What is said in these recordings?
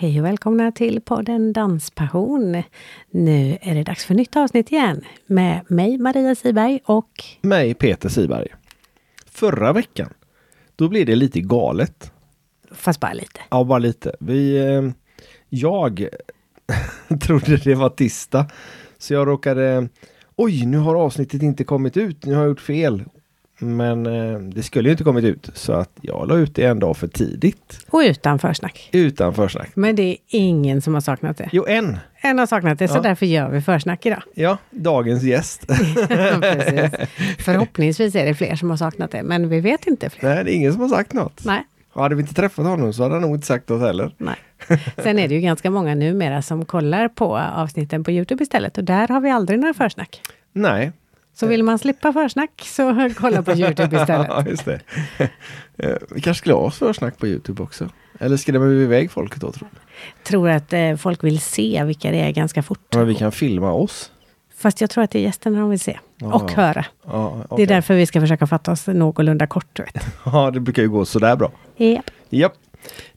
Hej och välkomna till podden Danspassion. Nu är det dags för nytt avsnitt igen med mig Maria Siberg och mig Peter Siberg. Förra veckan, då blev det lite galet. fast bara lite. Ja, bara lite. Vi, eh, jag trodde det var tisdag, så jag råkade... Oj, nu har avsnittet inte kommit ut. Nu har jag gjort fel. Men eh, det skulle ju inte kommit ut, så att jag la ut det en dag för tidigt. Och utan försnack. Utan försnack. Men det är ingen som har saknat det. Jo, en. En har saknat det, så Ja. därför gör vi försnack idag. Ja, dagens gäst. Precis. Förhoppningsvis är det fler som har saknat det, men vi vet inte fler. Nej, det är ingen som har sagt något. Nej. Och Hade vi inte träffat honom så hade han nog inte sagt något heller. Nej. Sen är det ju ganska många numera som kollar på avsnitten på Youtube istället och där har vi aldrig några försnack. Nej, Så vill man slippa försnack så kolla på Youtube istället. Ja, just det. Eh, Vi kanske skulle ha oss försnack på Youtube också. Eller skrämmer vi iväg folket då tror du? tror att eh, folk vill se vilka det är ganska fort. Men vi kan filma oss. Fast jag tror att det är gästerna de vill se. Ja. Och höra. Ja, Det Ah, okej. är därför vi ska försöka fatta oss någorlunda kort. du Vet. ja, det brukar ju gå sådär bra. Japp. Japp.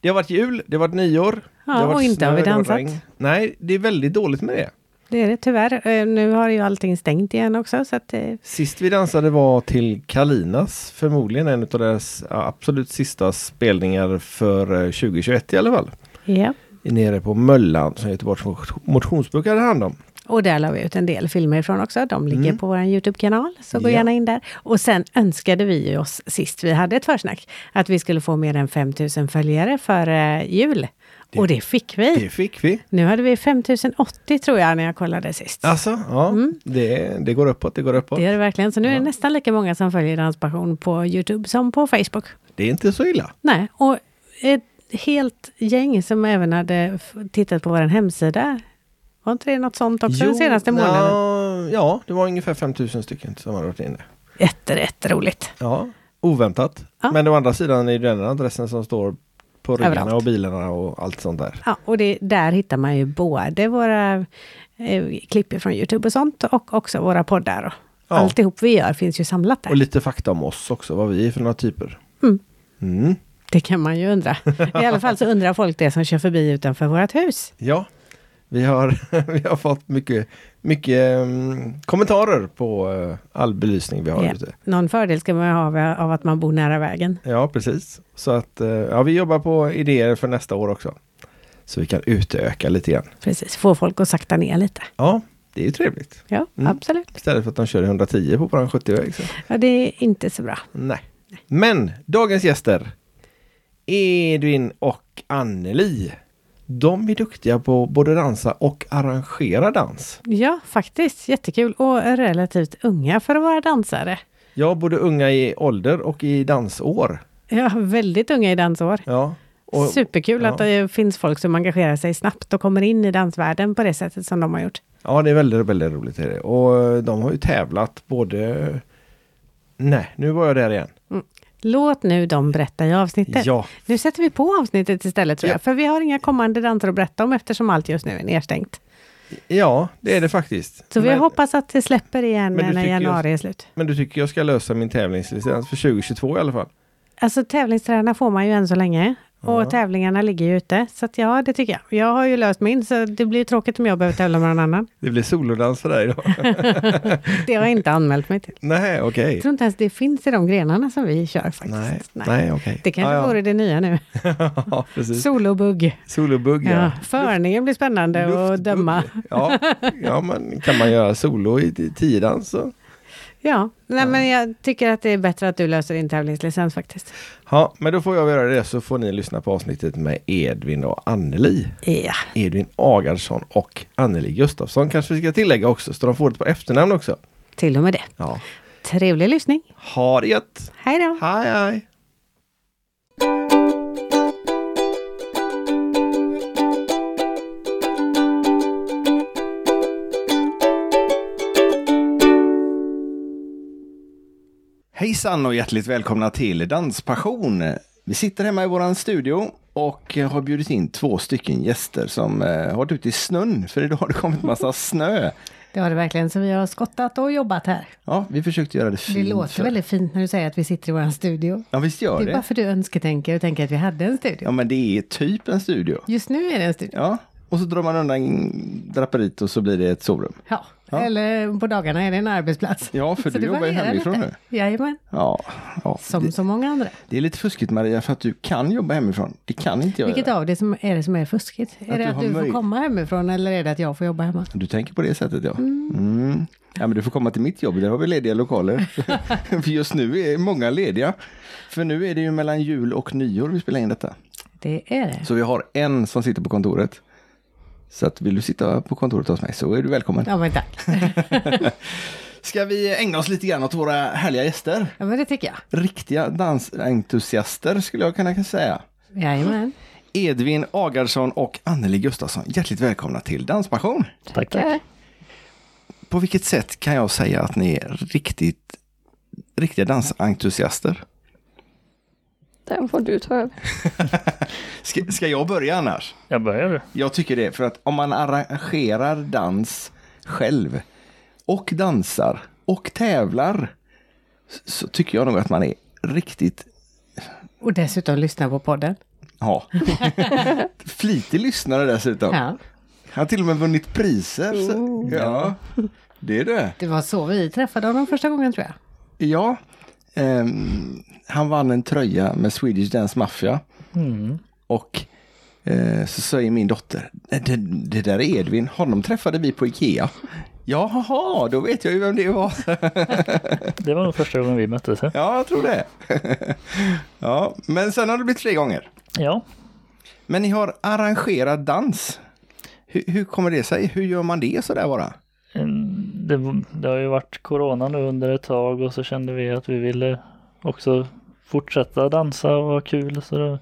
Det har varit jul, det har varit nyår. Ja, det har varit och inte har vi snö, det varit dansat. regn. Nej, det är väldigt dåligt med det. Det är det tyvärr. Eh, Nu har ju allting stängt igen också. Så att, eh, Sist vi dansade var till Kalinas, förmodligen en av deras ja, absolut sista spelningar för eh, 2021 i alla fall. ja. Nere på Möllan som Göteborgs motion- motionsbok hade hand om. Och där la vi ut en del filmer ifrån också. De ligger Mm. på vår Youtube-kanal, så gå Ja. gärna in där. Och sen önskade vi ju oss sist vi hade ett försnack, att vi skulle få mer än 5000 följare för eh, jul. och det fick vi. Det fick vi. Nu hade vi 5080 tror jag när jag kollade sist. Alltså, ja. Det, det går uppåt, det går uppåt. mm. Det gör det verkligen. Så nu är det nästan lika många som följer Danspassion på Youtube som på Facebook. Det är inte så illa. Nej, och ett helt gäng som även hade f- tittat på vår hemsida. Var inte det något sånt också den senaste månaden? nja, Ja, det var ungefär 5000 stycken som hade varit inne. Jätte, jätteroligt. Ja, oväntat. Ja. Men å andra sidan är det den adressen som står på ryggarna Överallt. och bilarna och allt sånt där. Ja, och det, där hittar man ju både våra eh, klipp från Youtube och sånt och också våra poddar. Och Ja. Alltihop vi gör finns ju samlat Och där. lite fakta om oss också, vad vi är för några typer. Mm. Mm. Det kan man ju undra. I alla fall så undrar folk det som kör förbi utanför vårt hus. Ja, vi har, vi har fått mycket, mycket mm, kommentarer på eh, all belysning vi har Ja. ute. Någon fördel ska man ju ha av- av att man bor nära vägen. Ja, precis. Så att eh, ja, vi jobbar på idéer för nästa år också. Så vi kan utöka lite grann. Precis, få folk att sakta ner lite. Ja, det är ju trevligt. Ja, Mm. absolut. Istället för att de kör i 110 på våran 70-väg. så. Ja, det är inte så bra. Nej. Men dagens gäster Edvin och Anneli. De är duktiga på både dansa och arrangera dans. Ja, faktiskt. Jättekul och är relativt unga för att vara dansare. Ja, både unga i ålder och i dansår. Ja, väldigt unga i dansår. Ja. Och, Superkul ja. att det finns folk som engagerar sig snabbt och kommer in i dansvärlden på det sättet som de har gjort. ja, det är väldigt, väldigt roligt. Är det. Och eh, de har ju tävlat både... Nej, nu var jag där igen. Låt nu dem berätta i avsnittet. Ja, Nu sätter vi på avsnittet istället tror Ja. jag, för vi har inga kommande danser att berätta om eftersom allt just nu är nedstängt. ja det är det faktiskt. Så vi Men- hoppas att det släpper igen Men du när tycker jag- januari är slut. Men du tycker jag ska lösa min tävlingslicens för 2022 i alla fall? Alltså tävlingsträna får man ju än så länge. Och tävlingarna ligger ju ute. Så att ja, det tycker jag. Jag har ju löst min, så det blir ju tråkigt om jag behöver tävla med någon annan. Det blir solodans för dig idag. Det har jag inte anmält mig till. Nej, okej. Jag tror inte ens det finns i de grenarna som vi kör faktiskt. Nej, nej, okej. Det kanske Ja, ja. vore det nya nu. ja, precis. Solobugg. Solobugg, ja. Ja, förningen blir spännande att Luftbugg. döma. Ja, ja, men kan man göra solo i i tiodans så. Ja, nej men jag tycker att det är bättre att du löser din tävlingslicens faktiskt. Ja, men då får jag göra det så får ni lyssna på avsnittet med Edvin och Anneli. Ja, Edvin Agardsson och Anneli Gustafsson kanske vi ska tillägga också, så de får det på efternamn också. till och med det. Ja. Trevlig lyssning. Ha det gött! Hej då! Hej, hej! Hejsan och hjärtligt välkomna till Danspassion. Vi sitter hemma i våran studio och har bjudit in två stycken gäster som eh, har varit ute i snön, för idag har det kommit massa snö. Det har det verkligen, så vi har skottat och jobbat här. Ja, vi försökte göra det Det fint. låter för- väldigt fint när du säger att vi sitter i vår studio. Ja, visst gör det det. är bara för du önsketänker och tänker att vi hade en studio. Ja, men det är typ en studio. Just nu är det en studio. Ja, och så drar man undan draperiet och så blir det ett sovrum. Ja. Ja. Eller på dagarna är det en arbetsplats. Ja, för Så du det jobbar ju varierar hemifrån lite. Jajamän, Ja, ja. som Det, så många andra. det är lite fuskigt Maria, för att du kan jobba hemifrån. Det kan inte jag Vilket göra. av det som är det som är fuskigt? är du det att har du får möj- komma hemifrån eller är det att jag får jobba hemma? Du tänker på det sättet ja. Mm. Ja men du får komma till mitt jobb, där har vi lediga lokaler. för just nu är många lediga. För nu är det ju mellan jul och nyår vi spelar in detta. Det är det. Så vi har en som sitter på kontoret. Så att vill du sitta på kontoret hos mig så är du välkommen. Ja men tack. Ska vi ägna oss lite grann åt våra härliga gäster? Ja men det tycker jag. Riktiga dansentusiaster skulle jag kunna säga. Jajamän. Edvin Agardsson och Anneli Gustafsson, hjärtligt välkomna till Danspassion. Tack, tack. På vilket sätt kan jag säga att ni är riktigt, riktiga dansentusiaster? Den får du ta över. Ska, ska jag börja annars? Jag börjar du. Jag tycker det, för att om man arrangerar dans själv och dansar och tävlar s- så tycker jag nog att man är riktigt Och dessutom lyssna på podden. ja, flitig lyssnare dessutom. Ja. Han har till och med vunnit priser. Så, ja, det är det. Det var så vi träffade honom första gången tror jag. Ja, ehm, han vann en tröja med Swedish Dance Mafia. Mm. Och eh, så säger min dotter, det, det där är Edvin, honom träffade vi på Ikea. Jaha, då vet jag ju vem det var. Det var nog första gången vi möttes. här. ja, jag tror det. ja, men sen har det blivit tre gånger. Ja, Men ni har arrangerat dans. Hur, hur kommer det sig? Hur gör man det sådär bara? Mm, det, det har ju varit corona nu under ett tag och så kände vi att vi ville också fortsätta dansa och ha kul. Så då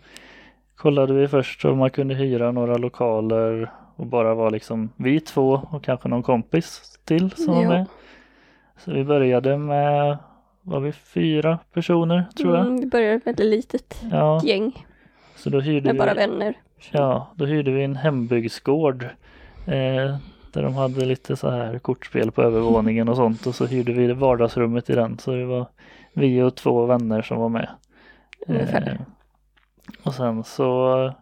kollade vi först om man kunde hyra några lokaler och bara vara liksom vi två och kanske någon kompis till som var Ja. med. Så vi började med, var vi fyra personer tror jag? Mm, vi började med ett väldigt litet Ja, gäng så då hyrde med vi bara vänner. Ja, då hyrde vi en hembygdsgård. Eh, där de hade lite så här kortspel på övervåningen och sånt. Och så hyrde vi vardagsrummet i den. Så det var vi och två vänner som var med. Eh, Ungefär. och sen så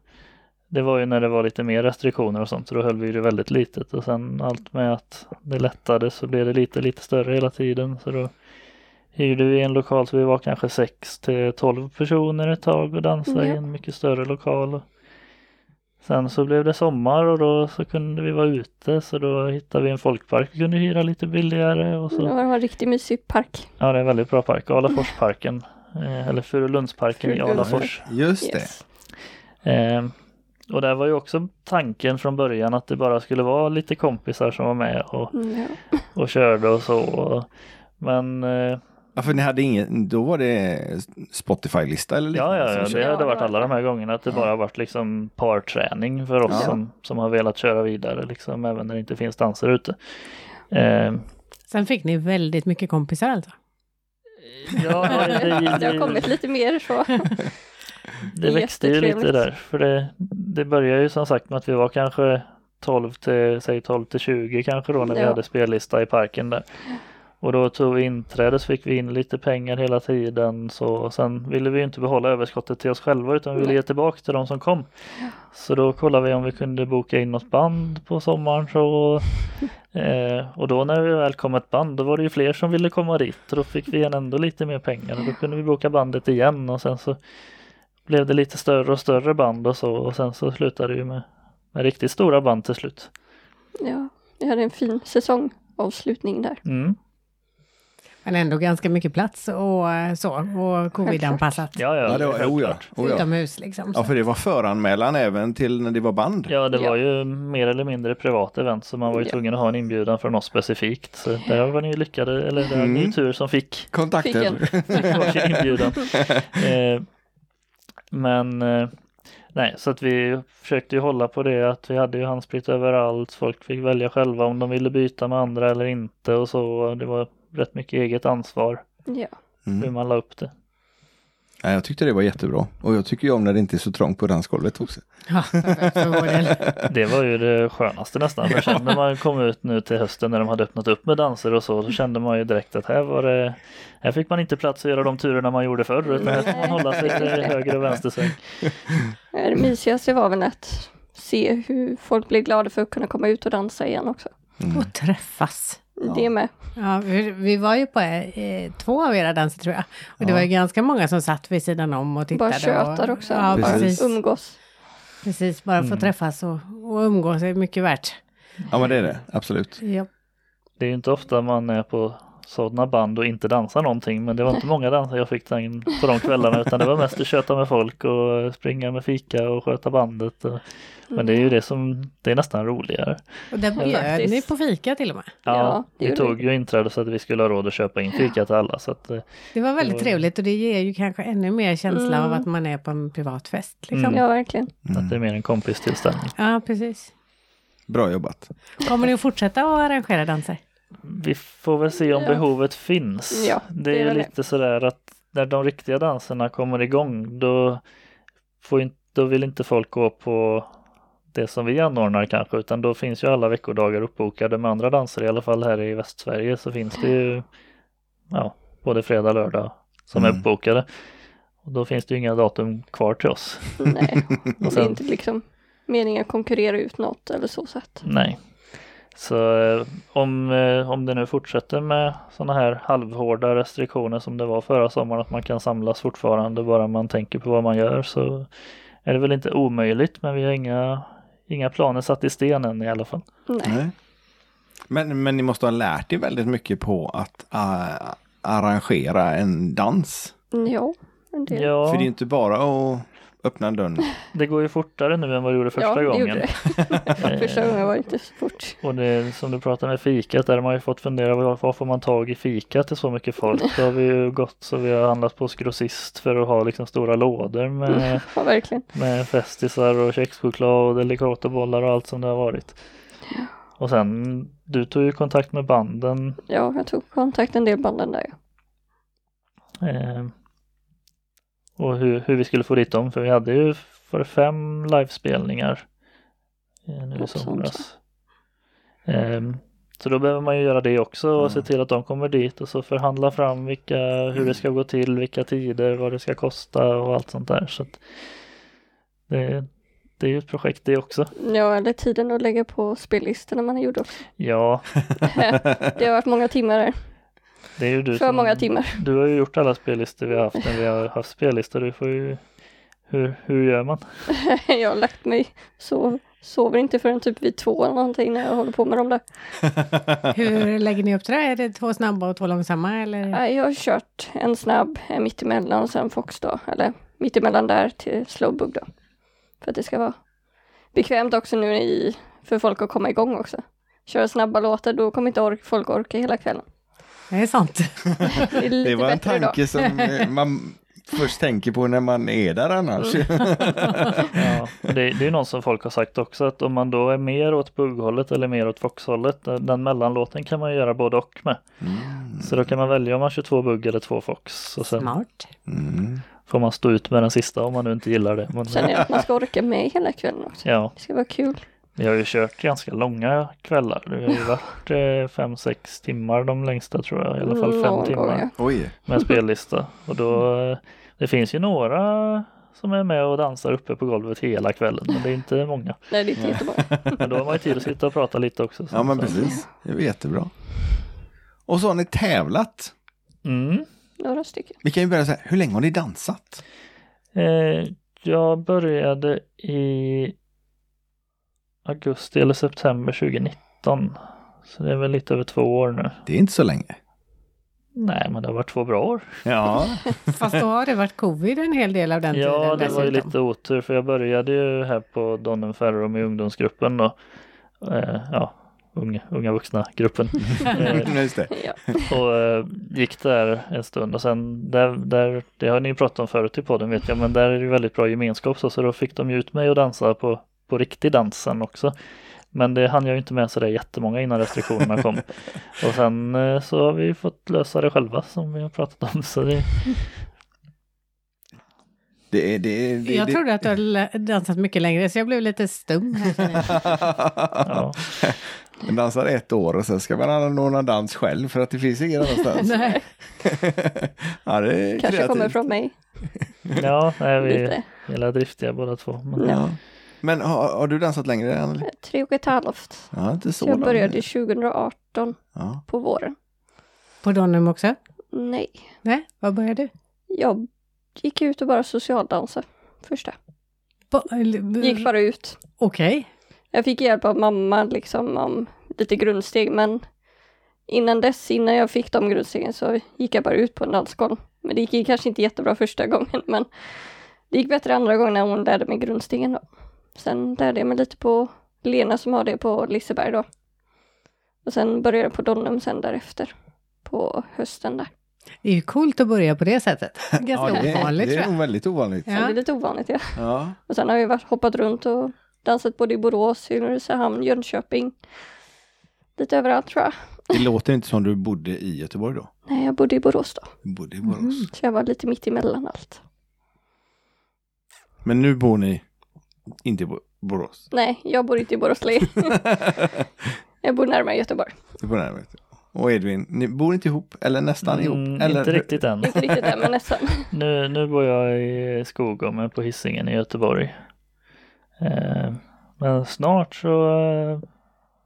det var ju när det var lite mer restriktioner och sånt. Så då höll vi det väldigt litet. Och sen allt med att det lättade så blev det lite, lite större hela tiden. Så då hyrde vi en lokal så vi var kanske 6 till 12 personer ett tag och dansade i Ja. en mycket större lokal. Sen så blev det sommar och då så kunde vi vara ute så då hittade vi en folkpark vi kunde hyra lite billigare och Det så. var en Mm, riktigt mysig park. Ja det är en väldigt bra park, Alaforsparken. Eh, eller Furulundsparken i Furulunds- Alafors. Just det. Yes. Eh, och där var ju också tanken från början att det bara skulle vara lite kompisar som var med och, Mm, ja. och körde och så. Men eh, Ja, för ni hade ingen, då var det Spotify-lista eller Ja, liknande ja, som ja körde? det Ja, hade det varit var alla de här gångerna att det bara varit liksom parträning för oss Ja. som, som har velat köra vidare liksom även när det inte finns danser ute. Eh, Sen fick ni väldigt mycket kompisar alltså. ja, det, Det har det, kommit lite mer så. det växte ju lite jättetrevligt. där för det, det började ju som sagt med att vi var kanske 12 till, säg 12 till 20 kanske då när vi Ja. hade spellista i parken där. Och då tog vi inträde så fick vi in lite pengar hela tiden så sen ville vi ju inte behålla överskottet till oss själva utan vi ville ge tillbaka till de som kom. Så då kollade vi om vi kunde boka in något band på sommaren. Så, eh, och då när vi väl kom ett band då var det ju fler som ville komma dit. Och då fick vi igen ändå lite mer pengar och då kunde vi boka bandet igen och sen så blev det lite större och större band och så och sen så slutade det ju med, med riktigt stora band till slut. Ja, vi hade en fin säsongavslutning där. Mm. Men ändå ganska mycket plats och eh, så, och covid-anpassat. Ja, ja, Ja, det var, helt oh ja, klart. oh ja. Utomhus liksom. ja, Så. för det var föranmälan även till när det var band. Ja, det Ja. var ju mer eller mindre privat event så man var ju Ja. tvungen att ha en inbjudan från oss specifikt. Så där var ni ju lyckade, eller det var Mm. ni ju tur som fick Fick en. Kontakter. varsin inbjudan. Eh, men eh, nej, så att vi försökte ju hålla på det att vi hade ju handsprit överallt. Folk fick välja själva om de ville byta med andra eller inte och så. Det var rätt mycket eget ansvar Ja, hur man la upp det. Mm. Ja, jag tyckte det var jättebra. Och jag tycker ju om när det inte är så trångt på dansgolvet också. Ja, perfekt för vår del. Mm. Det var ju det skönaste nästan. För sen när man kom ut nu till hösten när de hade öppnat upp med danser och så, så kände man ju direkt att här var det, här fick man inte plats att göra de turerna man gjorde förr, utan här får man hålla sig till höger och vänstersväng. Det mysigaste var väl att se hur folk blir glada för att kunna komma ut och dansa igen också. Mm. Och träffas. Det med. Ja, vi, vi var ju på eh, två av era danser tror jag. Och det var ju ganska många som satt vid sidan om och tittade. Bara tjötar och, också. Ja, bara precis. umgås. precis. Bara Mm. få träffas och, och umgås är mycket värt. Ja, men det är det. Absolut. Ja. Det är ju inte ofta man är på sådana band och inte dansar någonting, men det var inte många danser jag fick den på de kvällarna, utan det var mest att köta med folk och springa med fika och sköta bandet. och- Men det är ju det som, det är nästan roligare. Och där bjöd faktiskt. ni på fika till och med. Ja, Ja, det vi gjorde tog ju inträde så att vi skulle ha råd att köpa in fika till alla. Så att, eh, Det var väldigt Det var- trevligt och det ger ju kanske ännu mer känsla Mm. av att man är på en privat fest. Liksom. Mm. Ja, verkligen. att det är mer en kompistillställning. Mm. Ja, precis. Bra jobbat. Kommer ni att fortsätta att arrangera danser? Vi får väl se om Ja. behovet finns. Ja, det, det är är väl det. lite sådär att när de riktiga danserna kommer igång då, får inte, då vill inte folk gå på det som vi anordnar kanske utan då finns ju alla veckodagar uppbokade med andra danser i alla fall här i Västsverige så finns det ju ja, både fredag och lördag som är Mm. uppbokade. Och då finns det ju inga datum kvar till oss. Nej, det är sen- inte liksom meningen att konkurrera ut något eller så. så att. Nej. Så eh, om, eh, om det nu fortsätter med sådana här halvhårda restriktioner som det var förra sommaren, att man kan samlas fortfarande bara man tänker på vad man gör så är det väl inte omöjligt men vi har inga, inga planer satt i sten än i alla fall. Nej. Nej. Men, men ni måste ha lärt er väldigt mycket på att ah, arrangera en dans. Ja, en del. Ja, För det är ju inte bara att öppna en dörr. det går ju fortare nu än vad det gjorde första ja, det gången. Eh, gjorde det. Första gången var det inte så fort. Och det som du pratade med fikat, där har man ju fått fundera vad, vad får man tag i fika till så mycket folk? Då har vi ju gått så vi har handlat på hos grossist för att ha liksom stora lådor med Ja, verkligen. Med festisar och kexchoklad och delikatobollar och allt som det har varit. Och sen, du tog ju kontakt med banden. Ja, jag tog kontakt en del banden där. Eh, och hur, hur vi skulle få dit dem, för vi hade ju för fem livespelningar eh, nu i Något sånt, somras. Eh, så då behöver man ju göra det också och se till att de kommer dit och så förhandla fram vilka, hur det ska gå till, vilka tider, vad det ska kosta och allt sånt där. Så att det, det är ju ett projekt det också. Ja, eller tiden att lägga på spellistorna man gjorde också. Ja, Det har varit många timmar där. det är ju du För som, många timmar. Du har ju gjort alla spellistor vi har haft när vi har haft spellistor. Du får ju, hur, hur gör man? Jag har lagt mig, så sover inte förrän typ vid två eller någonting när jag håller på med dem där. Hur lägger ni upp det? där? Är det två snabba och två långsamma? Eller? Nej, Jag har kört en snabb, en mittemellan och sen Fox då, eller mittemellan där till Slowbug då. För att det ska vara bekvämt också nu i, för folk att komma igång också. Köra snabba låtar, då kommer inte ork, folk orka hela kvällen. Det är sant. Det är lite Det var en bättre då. tanke som eh, man först tänker på när man är där annars. Ja, det, det är ju någon som folk har sagt också att om man då är mer åt bugghållet eller mer åt foxhållet, den den mellanlåten kan man ju göra både och med. Mm. Så då kan man välja om man kör två bugg eller två fox och sen Smart. Mm. får man stå ut med den sista om man nu inte gillar det. Men, Sen är det att man ska orka med hela kvällen också. ja, Det ska vara kul. vi har ju kört ganska långa kvällar. Det har ju varit eh, fem, sex timmar de längsta tror jag, i alla fall fem Någon timmar. gång, ja. Oj. med spellista. Och då, eh, det finns ju några som är med och dansar uppe på golvet hela kvällen, men det är inte många. Nej, det är inte jättebra. Men då har man ju tid att sitta och prata lite också. så- Ja men så- precis. Det var jättebra. Och så har ni tävlat. Mm. Några stycken. Vi kan ju börja så här, hur länge har ni dansat? Eh, jag började i augusti eller september 2019. Så det är väl lite över två år nu. Det är inte så länge. Nej, men det har varit två bra år. Ja. Fast då har det varit covid en hel del av den tiden. Ja, det var ju dessutom. lite otur för jag började ju här på Donnen Ferrum i ungdomsgruppen då. Eh, ja, unga, unga vuxna-gruppen. Eh, Just det. Ja. och eh, gick där en stund och sen där, där, det har ni ju pratat om förut i podden vet jag, men där är det ju väldigt bra gemenskap så, så då fick de ju ut mig och dansa på, på riktig dansen också. Men det hann jag ju inte med sådär jättemånga innan restriktionerna kom. Och sen eh, så har vi fått lösa det själva som vi har pratat om. Så det, Det är... Det är det, Jag det, trodde att du hade dansat mycket längre, så jag blev lite stum här. känner jag. Ja. Man dansar ett år och sen ska man anordna dans själv för att det finns ingen annanstans. Nej. ja, det är Kanske kreativt. kommer från mig. ja, nej, vi Lite. gillar driftiga båda två. Men, Ja. Men har, har du dansat längre? Anneli? Tre och ett halvt. Ja, inte så Så jag långt. började 2018 Ja. på våren. På Donum också? Nej, Nej, var började du? jag gick ut och bara socialdansade första. På- eller- Gick bara ut. eh, Okej. Jag fick hjälp av mamma liksom om lite grundsteg men innan dess, innan jag fick de grundstegen så gick jag bara ut på en dansgolv. Men det gick ju kanske inte jättebra första gången men det gick bättre andra gången när hon lärde mig grundstegen då. Sen lärde jag mig lite på Lena som har det på Liseberg då. Och sen började jag på Donum sen därefter. På hösten där. Det är ju coolt att börja på det sättet. Ganska det, ovanligt det tror är jag. nog väldigt ovanligt. Så Ja. det är lite ovanligt ja. Ja. Och sen har jag varit, hoppat runt och dansat både i Borås, Ulricehamn, Jönköping. Lite överallt tror jag. Det låter inte som du bodde i Göteborg då. Nej, jag bodde i Borås då. Du bodde i Borås. Så jag var lite mitt emellan allt. Men nu bor ni inte i Bo- Borås. Nej, jag bor inte i Borås län. jag bor närmare Göteborg. Du bor närmare. Och Edvin, ni bor inte ihop eller nästan ihop? mm, Eller, Inte riktigt än. Inte riktigt där, men nästan. Nu, nu bor jag i Skogome på Hisingen i Göteborg. Eh, men snart så eh,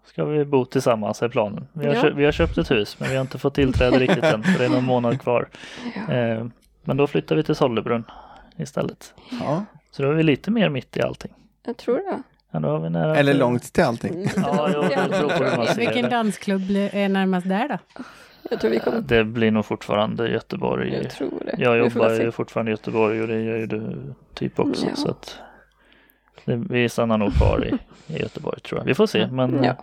ska vi bo tillsammans är planen. Vi har, Ja. kö- vi har köpt ett hus men vi har inte fått tillträde riktigt än för det är någon månad kvar. Eh, men då flyttar vi till Sollebrunn istället. Ja. Så då är vi lite mer mitt i allting. Jag tror det. Ja, då har vi nära eller till- långt till allting. Ja, jo, det beror på hur man ser Vilken det. dansklubb blir- är närmast där då? Jag tror vi kommer... Det blir nog fortfarande Göteborg. Jag tror det. Jag Vi får jobbar väl se. ju fortfarande i Göteborg och det gör ju du typ också. Ja. Så att det, vi stannar nog kvar i, i Göteborg tror jag. Vi får se men eh, Ja.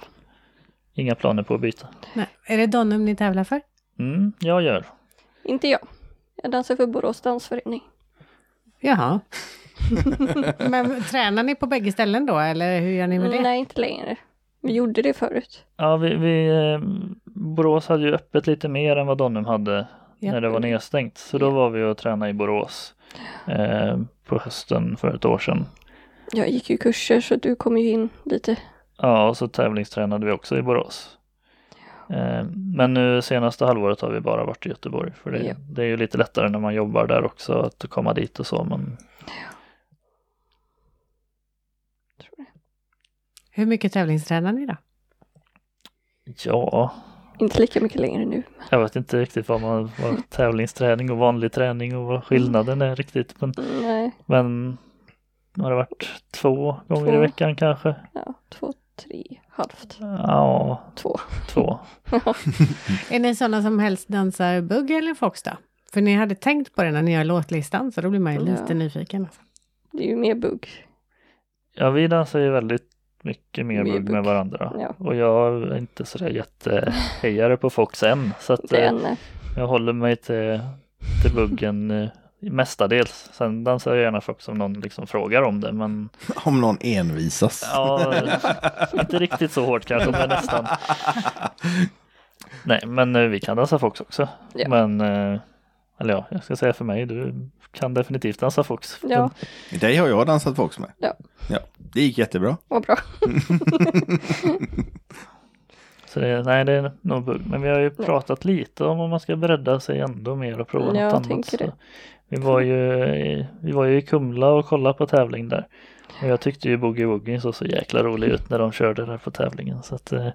inga planer på att byta. Nej. Är det Donum ni tävlar för? Mm, jag gör. Inte jag. Jag dansar för Borås dansförening. Jaha. Men tränar ni på bägge ställen då, eller hur gör ni med det? Nej, inte längre. Vi gjorde det förut. Ja, vi, vi, eh, Borås hade ju öppet lite mer än vad Donum hade Ja. när det var nedstängt. Så då var vi och tränade i Borås eh, på hösten för ett år sedan. Jag gick ju kurser så du kom ju in lite. Ja, och så tävlingstränade vi också i Borås. Eh, Men nu senaste halvåret har vi bara varit i Göteborg. För det, Ja. det är ju lite lättare när man jobbar där också att komma dit och så. Men Tror jag. Hur mycket tävlingstränar ni då? ja, Inte lika mycket längre nu. jag vet inte riktigt vad, man, vad tävlingsträning och vanlig träning och vad skillnaden är riktigt. Men, Mm, Nej, men har det varit två gånger i Två. veckan kanske? ja, två, tre, halvt, Ja, två. två. Är ni sådana som helst dansar bugg eller fox då? För ni hade tänkt på det när ni gör låtlistan, så då blir man ju Ja. lite nyfiken. Alltså. Det är ju mer bugg. Ja, vi dansar ju väldigt mycket mer Mer bugg med bugg. varandra. Ja. Och jag är inte sådär jättehejare på Fox än. Så att, Det är eh, en, eh, Jag håller mig till, till buggen eh, mestadels. Sen dansar jag gärna folk som någon liksom frågar om det. Men Om någon envisas. ja, inte riktigt så hårt kanske, men nästan. Nej, men eh, vi kan dansa fox också. Ja. Men, eh, eller ja, jag ska säga för mig, du kan definitivt dansa fox. Ja, Dig har jag dansat folks med. Ja. ja. Det gick jättebra. vad bra. Så det, nej, det är nog bugg. Men vi har ju pratat lite om om man ska bredda sig ändå mer och prova Ja, något jag annat. tänker det. så. Vi var, ju i, vi var ju i Kumla och kollade på tävling där. Och jag tyckte ju Boogie Woogie såg så jäkla rolig ut när de körde där på tävlingen. Så att, eh,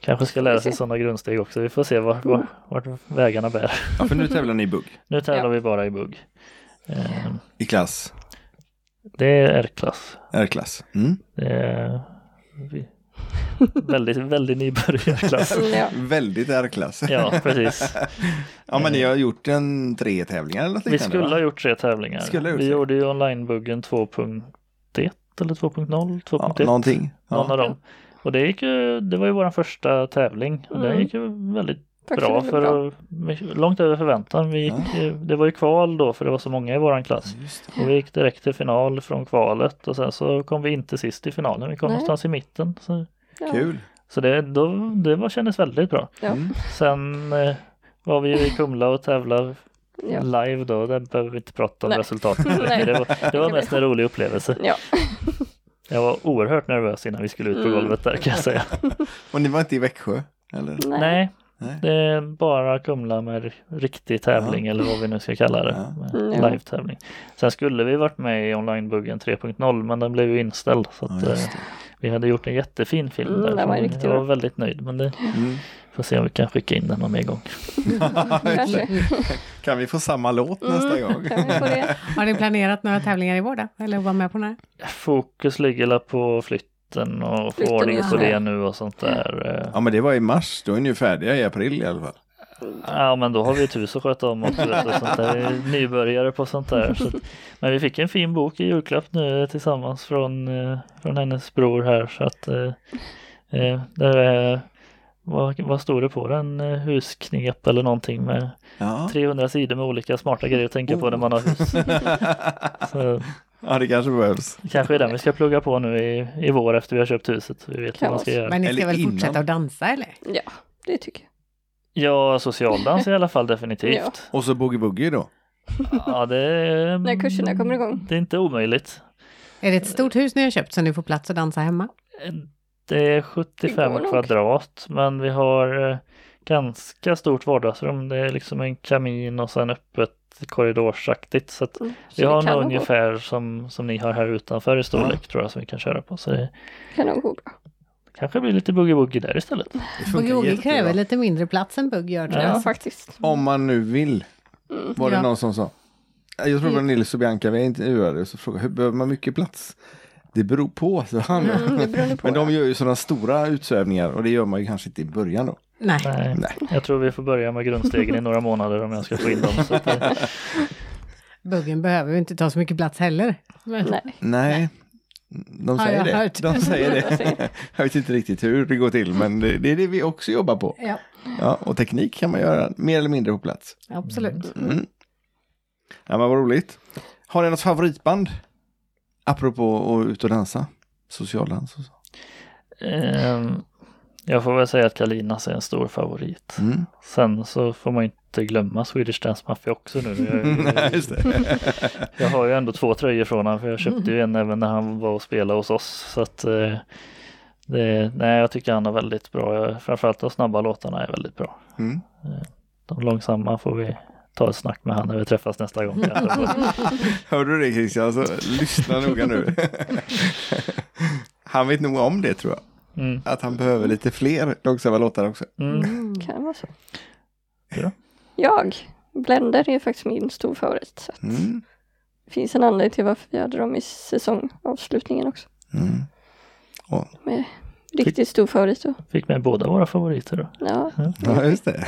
kanske ska lära sig sådana grundsteg också. Vi får se vart, Mm. vart, vart vägarna bär. Ja, för nu tävlar ni i bugg. Nu tävlar Ja. vi bara i bugg. Eh, I klass. det är R-klass. R-klass. Mm. Det är vi, väldigt, väldigt nybörjarklass. Ja. Väldigt R-klass. Ja, precis. Ja, men ni har gjort en tre tävlingar eller något Vi skulle ha gjort tre tävlingar. Skulle ha gjort vi tre. gjorde ju onlinebuggen 2.1 eller 2.0, 2.1, ja, någonting. typ någon av Ja. dem. Och det gick ju, det var ju vår första tävling. och Den Mm. gick ju väldigt Tack bra, det är för att, mycket- långt över förväntan. Vi gick, ju- Det var ju kval då för det var så många i våran klass. Och vi gick direkt till final från kvalet och sen så kom vi inte sist i finalen. Vi kom Nej. någonstans i mitten. Så, Ja. Kul. så det, då, Mm. det var, kändes väldigt bra. Ja. Sen eh, var vi ju i Kumla och tävlade Ja. live då, där behöver vi inte prata om Nej. resultatet. Nej. det, var, det var mest en rolig upplevelse. ja. Jag var oerhört nervös innan vi skulle ut på Mm. golvet där kan jag säga. Och ni var inte i Växjö? Eller? Nej. Nej, Nej. det är bara Kumla med riktig tävling eller vad vi nu ska kalla det. Ja. Med Mm, Ja. Live-tävling. Sen skulle vi varit med i onlinebuggen 3.0 men den blev ju inställd. Så att, Ja, eh, just det. vi hade gjort en jättefin film Mm, där. den var som riktigt jag var bra. väldigt nöjd men det Mm. får se om vi kan skicka in den någon mer gång. Kanske. Alltså, Kan vi få samma låt nästa gång? Kan vi få det? Har ni planerat några tävlingar i vår då? Eller vara med på några? Fokus ligger väl på flytten och få Flytten, ordning på ja. Mm. det nu och sånt där. eh. Ja men det var i mars, då är ni ju färdiga i april i alla fall. Ja men då har vi ett hus att sköta om också. vet du, sånt där. Vi är nybörjare på sånt där. Så. att- Men vi fick en fin bok i julklapp nu eh, tillsammans från, eh, från hennes bror här. Så att, eh, eh, där är, vad, vad stod det på den? Eh, Husknep eller någonting med Ja. 300 sidor med olika smarta grejer att tänka på när man har hus. Så ja det kanske behövs. kanske är den vi ska plugga på nu i, i vår efter vi har köpt huset. Så vi vet vad man ska göra. Men ni Eller ska väl innan. fortsätta att dansa eller? Ja, det tycker jag. Ja, socialdans i alla fall definitivt. Och så boogie boogie då. Ja, det är... När kurserna kommer igång. Det är inte omöjligt. Är det ett stort hus ni har köpt så ni får plats att dansa hemma? Det är Det 75 går nog. kvadrat, men vi har eh, ganska stort vardagsrum. Det är liksom en kamin och sen öppet korridorsaktigt. Så att Mm, så vi har det kan nog nog gå- ungefär som, som ni har här utanför i storlek tror jag som vi kan köra på. Så det kan nog gå bra. kanske blir lite boogie-woogie där istället. Det funkar Boogie jättebra. kräver lite mindre plats än bugg gör alltså. tror Ja, jag. faktiskt. Om man nu vill, Mm. var det Ja. någon som sa. Jag tror det var Nils och Bianca, vi är intervjuade, så frågade hur behöver man mycket plats? Det beror på, sa han. Mm, det beror på. Men de gör ju sådana stora utsvävningar och det gör man ju kanske inte i början då. Nej. Nej, Nej. jag tror vi får börja med grundstegen i några månader om jag ska få in dem. Så att det, Buggen behöver ju inte ta så mycket plats heller. Men- Nej. Nej, de Har säger jag det. hört. De säger det. Jag vet inte riktigt hur det går till, men det, det är det vi också jobbar på. Ja, Ja, och teknik kan man göra mer eller mindre på plats. absolut. Mm. Ja, men vad roligt. Har ni något favoritband? Apropå att ut och dansa. Socialdans och så. Ehm, jag får väl säga att Kalinas är en stor favorit. Mm. Sen så får man ju inte glömma Swedish Dance Mafia också nu. Nej, Jag, just det. jag har ju ändå två tröjor från honom för jag köpte ju en även när han var och spelade hos oss. Så att, eh, det, nej, jag tycker han är väldigt bra. Jag- Framförallt de snabba låtarna är väldigt bra. Mm. De långsamma får vi ta ett snack med han när vi träffas nästa gång. kanske. Hör du det Christian? Så lyssna noga nu. Han vet nog om det tror jag. Mm. Att han behöver lite fler långsamma låtar också. Mm. Kan det vara så? Du då? Jag, Blender är faktiskt min stor favorit. Så att Mm. det finns en anledning till varför vi hade dem i säsongavslutningen också. Mm. Riktigt stor favorit då. Fick med båda våra favoriter då. Ja, Ja, just det.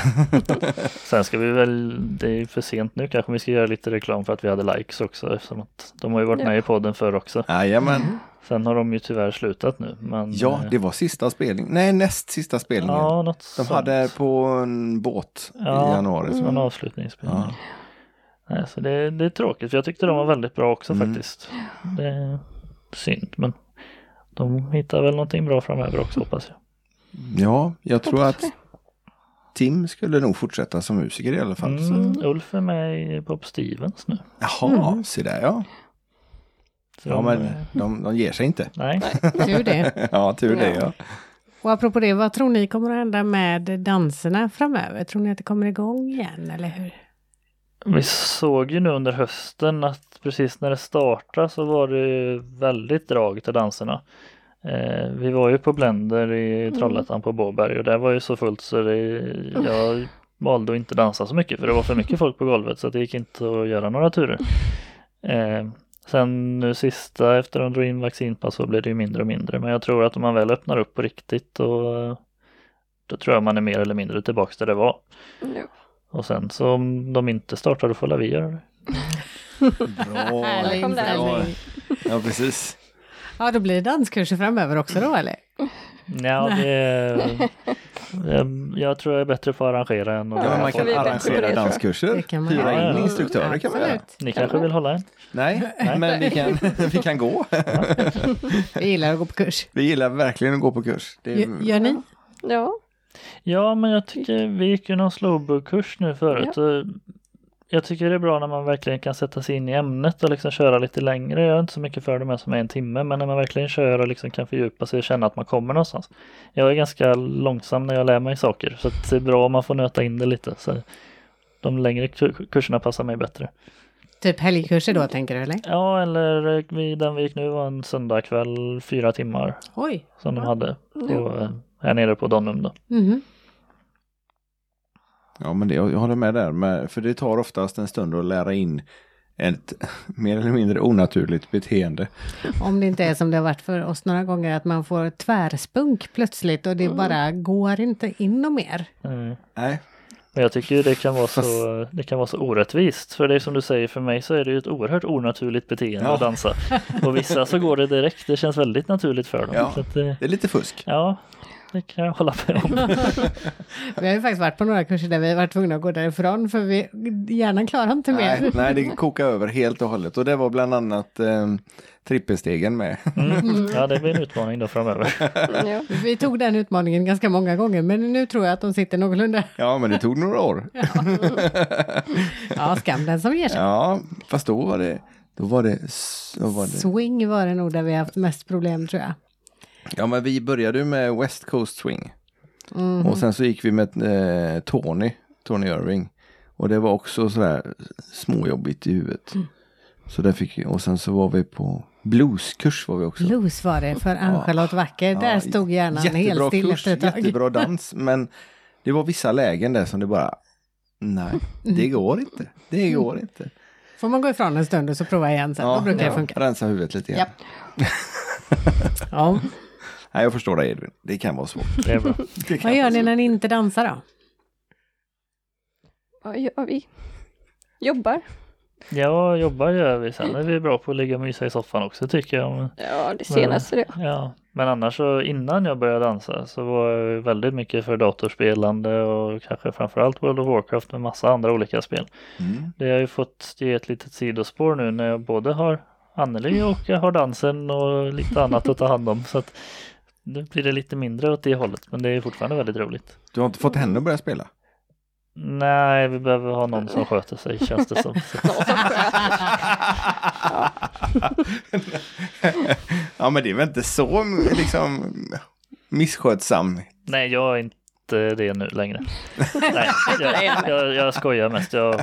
Sen ska vi väl, det är ju för sent nu kanske vi ska göra lite reklam för att vi hade likes också eftersom att de har ju varit Ja. med i podden förr också. Jajamän. Sen har de ju tyvärr slutat nu. Men, eh, Ja, det var sista spelningen. Nej, näst sista spelningen. Ja, något De sånt. hade på en båt Ja. Mm. i januari. som en Så. avslutningsspelning. Ja. Nej, så det, det är tråkigt för jag tyckte de var väldigt bra också Mm. faktiskt. Det är synd men de hittar väl någonting bra framöver också hoppas jag. ja, jag tror Hoppas att Tim skulle nog fortsätta som musiker i alla fall. Så. Mm, Ulf är med i Bob Stevens nu. Jaha, se där ja. Så ja de, men eh, de, de ger sig inte. Nej, Tur det. ja, tur det ja. Och apropå det, vad tror ni kommer att hända med danserna framöver? Tror ni att det kommer igång igen, eller hur? vi såg ju nu under hösten att precis när det startade så var det ju väldigt drag till danserna. Eh, vi var ju på Blender i Trollhättan på Båberg och där var ju så fullt så det, jag valde att inte dansa så mycket för det var för mycket folk på golvet så att det gick inte att göra några turer. Eh, sen nu sista efter de drog in vaccinpass så blev det ju mindre och mindre men jag tror att om man väl öppnar upp på riktigt och då tror jag man är mer eller mindre tillbaks där det var. ja. Och sen så om de inte startar då får la vi göra det. Bra. Härlig kom där. Bra. inställning. Ja, precis. Ja, då blir det danskurser framöver också då, eller? Nja, det, jag, jag tror jag är bättre på att arrangera än Ja, att Ja, men lära man kan jag folk. tror vi är bättre på arrangera det, tror jag. danskurser. Det kan man Hyra göra. in Ja. instruktörer kan man göra. Absolut. Ni kanske vill hålla en? Nej, men vi kan, vi kan gå. Vi gillar att gå på kurs. Vi gillar verkligen att gå på kurs. Det Gör, är, gör ni? ja. Ja, men jag tycker vi gick ju någon slowbug-kurs nu förut. jag tycker det är bra när man verkligen kan sätta sig in i ämnet och liksom köra lite längre. Jag är inte så mycket för de här som är en timme, men när man verkligen kör och liksom kan fördjupa sig och känna att man kommer någonstans. Jag är ganska långsam när jag lär mig saker, så att det är bra om man får nöta in det lite. Så de längre kur- kurserna passar mig bättre. Typ helgkurser då tänker du eller? Ja, eller vi, den vi gick nu var en söndagkväll, fyra timmar Oj. som de Ja. hade på, eh, här nere på Donum då. Mhm. Ja, men det, jag håller med där. Men, för det tar oftast en stund att lära in ett mer eller mindre onaturligt beteende. Om det inte är som det har varit för oss några gånger, att man får tvärspunk plötsligt och det bara går inte in och mer. Mm. Nej, Men jag tycker ju det kan, vara så, det kan vara så orättvist. För det är som du säger, för mig så är det ju ett oerhört onaturligt beteende Ja. att dansa. Och vissa så går det direkt, det känns väldigt naturligt för dem. Ja. Så att det, det är lite fusk. ja, det kan jag hålla med om. Vi har ju faktiskt varit på några kurser där vi har varit tvungna att gå därifrån för vi, hjärnan klarar inte Nej, mer. nej, det kokar över helt och hållet. Och det var bland annat eh, trippelstegen med. Mm. Ja, det blir en utmaning då framöver. Ja. Vi tog den utmaningen ganska många gånger, men nu tror jag att de sitter någorlunda... Ja, men det tog några år. Ja, skam den som ger sig. Ja, fast då var det... Då var det, s- då var det. Swing var det nog där vi har haft mest problem tror jag. Ja, men vi började ju med West Coast Swing. Och sen så gick vi med eh, Tony, Tony Irving. Och det var också sådär småjobbigt i huvudet. Så där fick vi, och sen så var vi på blueskurs var vi också. Blues var det för Ann-Charlotte Wacker. Där Ja, stod hjärnan jättebra helt still kurs, efter ett tag. Jättebra dans, men det var vissa lägen där som det bara, nej, det Mm. går inte. Det går inte. Får man gå ifrån en stund och så prova igen sen. Då Mm. brukar det funka. Rensa huvudet lite grann. Japp. Ja. Nej, jag förstår dig Edvin. Det kan vara svårt. Det är bra. Det kan Vad gör vara ni svårt. när ni inte dansar då? Vad gör vi? Jobbar. Ja, jobbar gör vi. Sen är vi bra på att ligga och mysa i soffan också tycker jag. Men- Ja, det senaste det. Ja, men annars så innan jag började dansa så var jag ju väldigt mycket för datorspelande och kanske framförallt World of Warcraft med massa andra olika spel. Mm. Det har ju fått ge ett litet sidospår nu när jag både har Anneli och jag har dansen och lite annat att ta hand om. Så att nu blir det lite mindre åt det hållet, men det är fortfarande väldigt roligt. Du har inte fått henne att börja spela? Nej, vi behöver ha någon som sköter sig känns det som. Så, Ja, men det är väl inte så liksom misskötsam. nej, jag är inte det nu längre. Nej, jag, jag, jag skojar mest. Jag,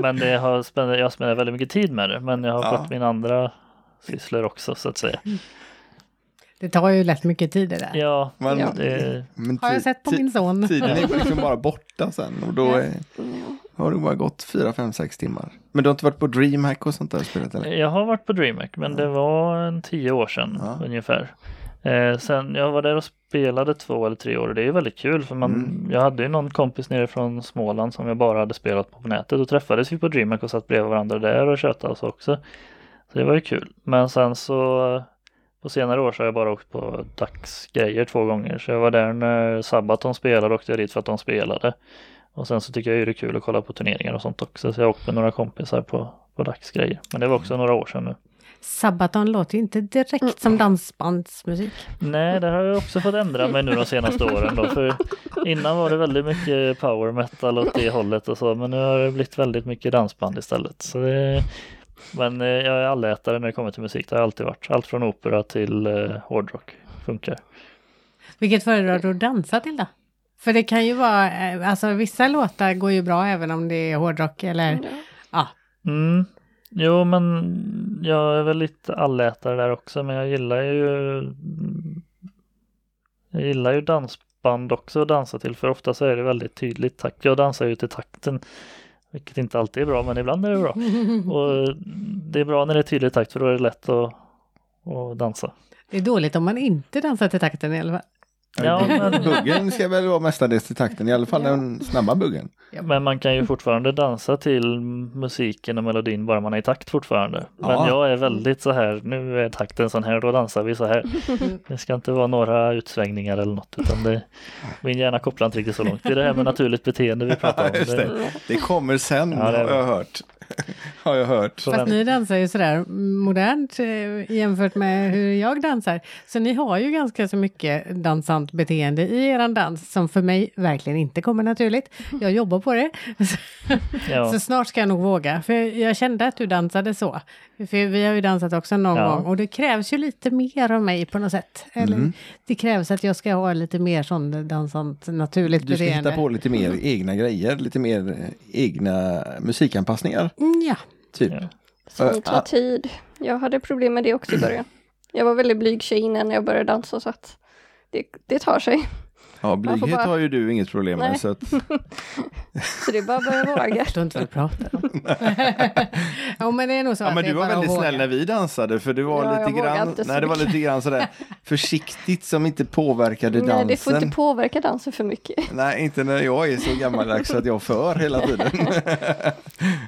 men det har spenderat, jag spenderar väldigt mycket tid med det, men jag har Ja. fått mina andra sysslor också så att säga. Det tar ju lätt mycket tid det där. Ja, Men, Ja. det, men Har jag ti- sett på ti- min son. Tiden är liksom bara borta sen och då är, har det bara gått fyra, fem, sex timmar. Men du har inte varit på DreamHack och sånt där och spelat eller? Jag har varit på DreamHack, men det var en tio år sedan Ja. ungefär. Eh, sen jag var där och spelade två eller tre år och det är ju väldigt kul för man, jag hade ju någon kompis nere från Småland som jag bara hade spelat på på nätet och träffades vi på DreamHack och satt bredvid varandra där och tjötade oss också. Så det var ju kul. Men sen så eh, på senare år så har jag bara åkt på dagsgrejer två gånger. Så jag var där när Sabaton spelade och åkte jag dit för att de spelade. Och sen så tycker jag ju det är kul att kolla på turneringar och sånt också. Så jag åkte med några kompisar på, på dagsgrejer. Men det var också några år sedan nu. Sabaton låter ju inte direkt som dansbandsmusik. Nej, det har jag också fått ändra mig nu de senaste åren då. För innan var det väldigt mycket power metal åt det hållet och så. Men nu har det blivit väldigt mycket dansband istället. Så det... Men eh, jag är allätare när det kommer till musik. Det har jag alltid varit. Allt från opera till eh, hårdrock funkar. Vilket föredrar du att dansa till då? För det kan ju vara, eh, alltså vissa låtar går ju bra även om det är hårdrock eller, ja. Mm. Jo, men jag är väl lite allätare där också, men jag gillar ju Jag gillar ju dansband också att dansa till, för ofta så är det väldigt tydligt takt. Jag dansar ju till takten, vilket inte alltid är bra, men ibland är det bra. Och det är bra när det är tydlig takt, för då är det lätt att, att dansa. Det är dåligt om man inte dansar till takten i alla fall. Ja, men, Buggen ska väl vara mestadels i takten, i alla fall den snabba buggen. men man kan Mm. ju fortfarande dansa till musiken och melodin bara man är i takt fortfarande. Men Ja. jag är väldigt så här, nu är takten sån här, då dansar vi så här. Det ska inte vara några utsvängningar eller något, utan det, min hjärna kopplar inte riktigt så långt. Det är det här med naturligt beteende vi pratar om. Just det. det kommer sen Ja, det är har jag hört. har jag hört. Så Fast den- ni dansar ju sådär modernt eh, jämfört med hur jag dansar. Så ni har ju ganska så mycket dansant beteende i eran dans som för mig verkligen inte kommer naturligt. Jag jobbar på det. Ja. Så snart ska jag nog våga. För jag kände att du dansade så. För vi har ju dansat också någon Ja. gång och det krävs ju lite mer av mig på något sätt. Eller, Mm. Det krävs att jag ska ha lite mer sån dansant naturligt Du ska beteende. hitta på lite mer egna grejer, lite mer eh, egna musikanpassningar. Mm, Ja, Typ. Ja. Äh, Eh, Sånt tar ah. tid. Jag hade problem med det också i början. Jag var väldigt blyg tjej innan jag började dansa så att det, det tar sig. Ja, får blyghet bara- har ju du inget problem Nej. med. Så att, Så det är bara att börja våga. jag förstår inte vad du pratar om. ja, men det är nog så ja, att men det är du var bara att väldigt våga. snäll när vi dansade för du var Ja, jag lite vågar grann, inte så nej, det var mycket. lite grann sådär försiktigt som inte påverkade Nej, dansen. det får inte påverka dansen för mycket. Nej, inte när jag är så gammaldags att jag för hela tiden.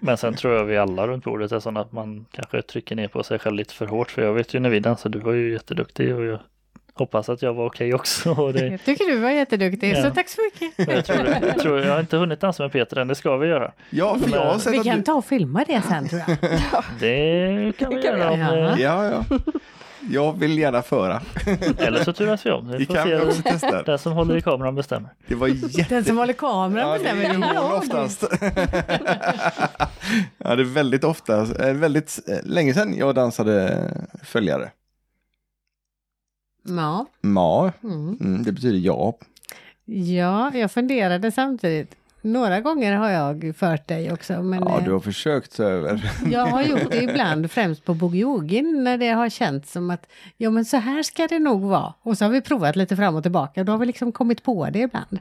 Men sen tror jag vi alla runt bordet är sådana att man kanske trycker ner på sig själv lite för hårt. För jag vet ju när vi dansade, du var ju jätteduktig och jag hoppas att jag var okej också. Och det, Jag tycker du var jätteduktig, Ja. så tack så mycket. jag, tror, jag, tror, jag har inte hunnit dansa med Peter än, det ska vi göra. Ja, för jag har sett Vi att kan du... ta och filma det sen tror jag. Det kan vi Det kan vi göra. Om, eh, göra. det- Ja, ja. Jag vill gärna föra. eller så turas vi om. Vi Vi får kan väl också se. testa. Den som håller i kameran bestämmer. Det var jätte... Den som håller kameran Ja, det bestämmer. är ju hon oftast. ja, det är väldigt ofta, eh, väldigt eh, länge sedan jag dansade följare. Ja. Ma, Mm. mm, det betyder ja. ja, jag funderade samtidigt. Några gånger har jag fört dig också, men Ja, eh, du har försökt så över. jag har gjort det ibland, främst på bogiogin, när det har känts som att ja, men så här ska det nog vara. Och så har vi provat lite fram och tillbaka, och då har vi liksom kommit på det ibland.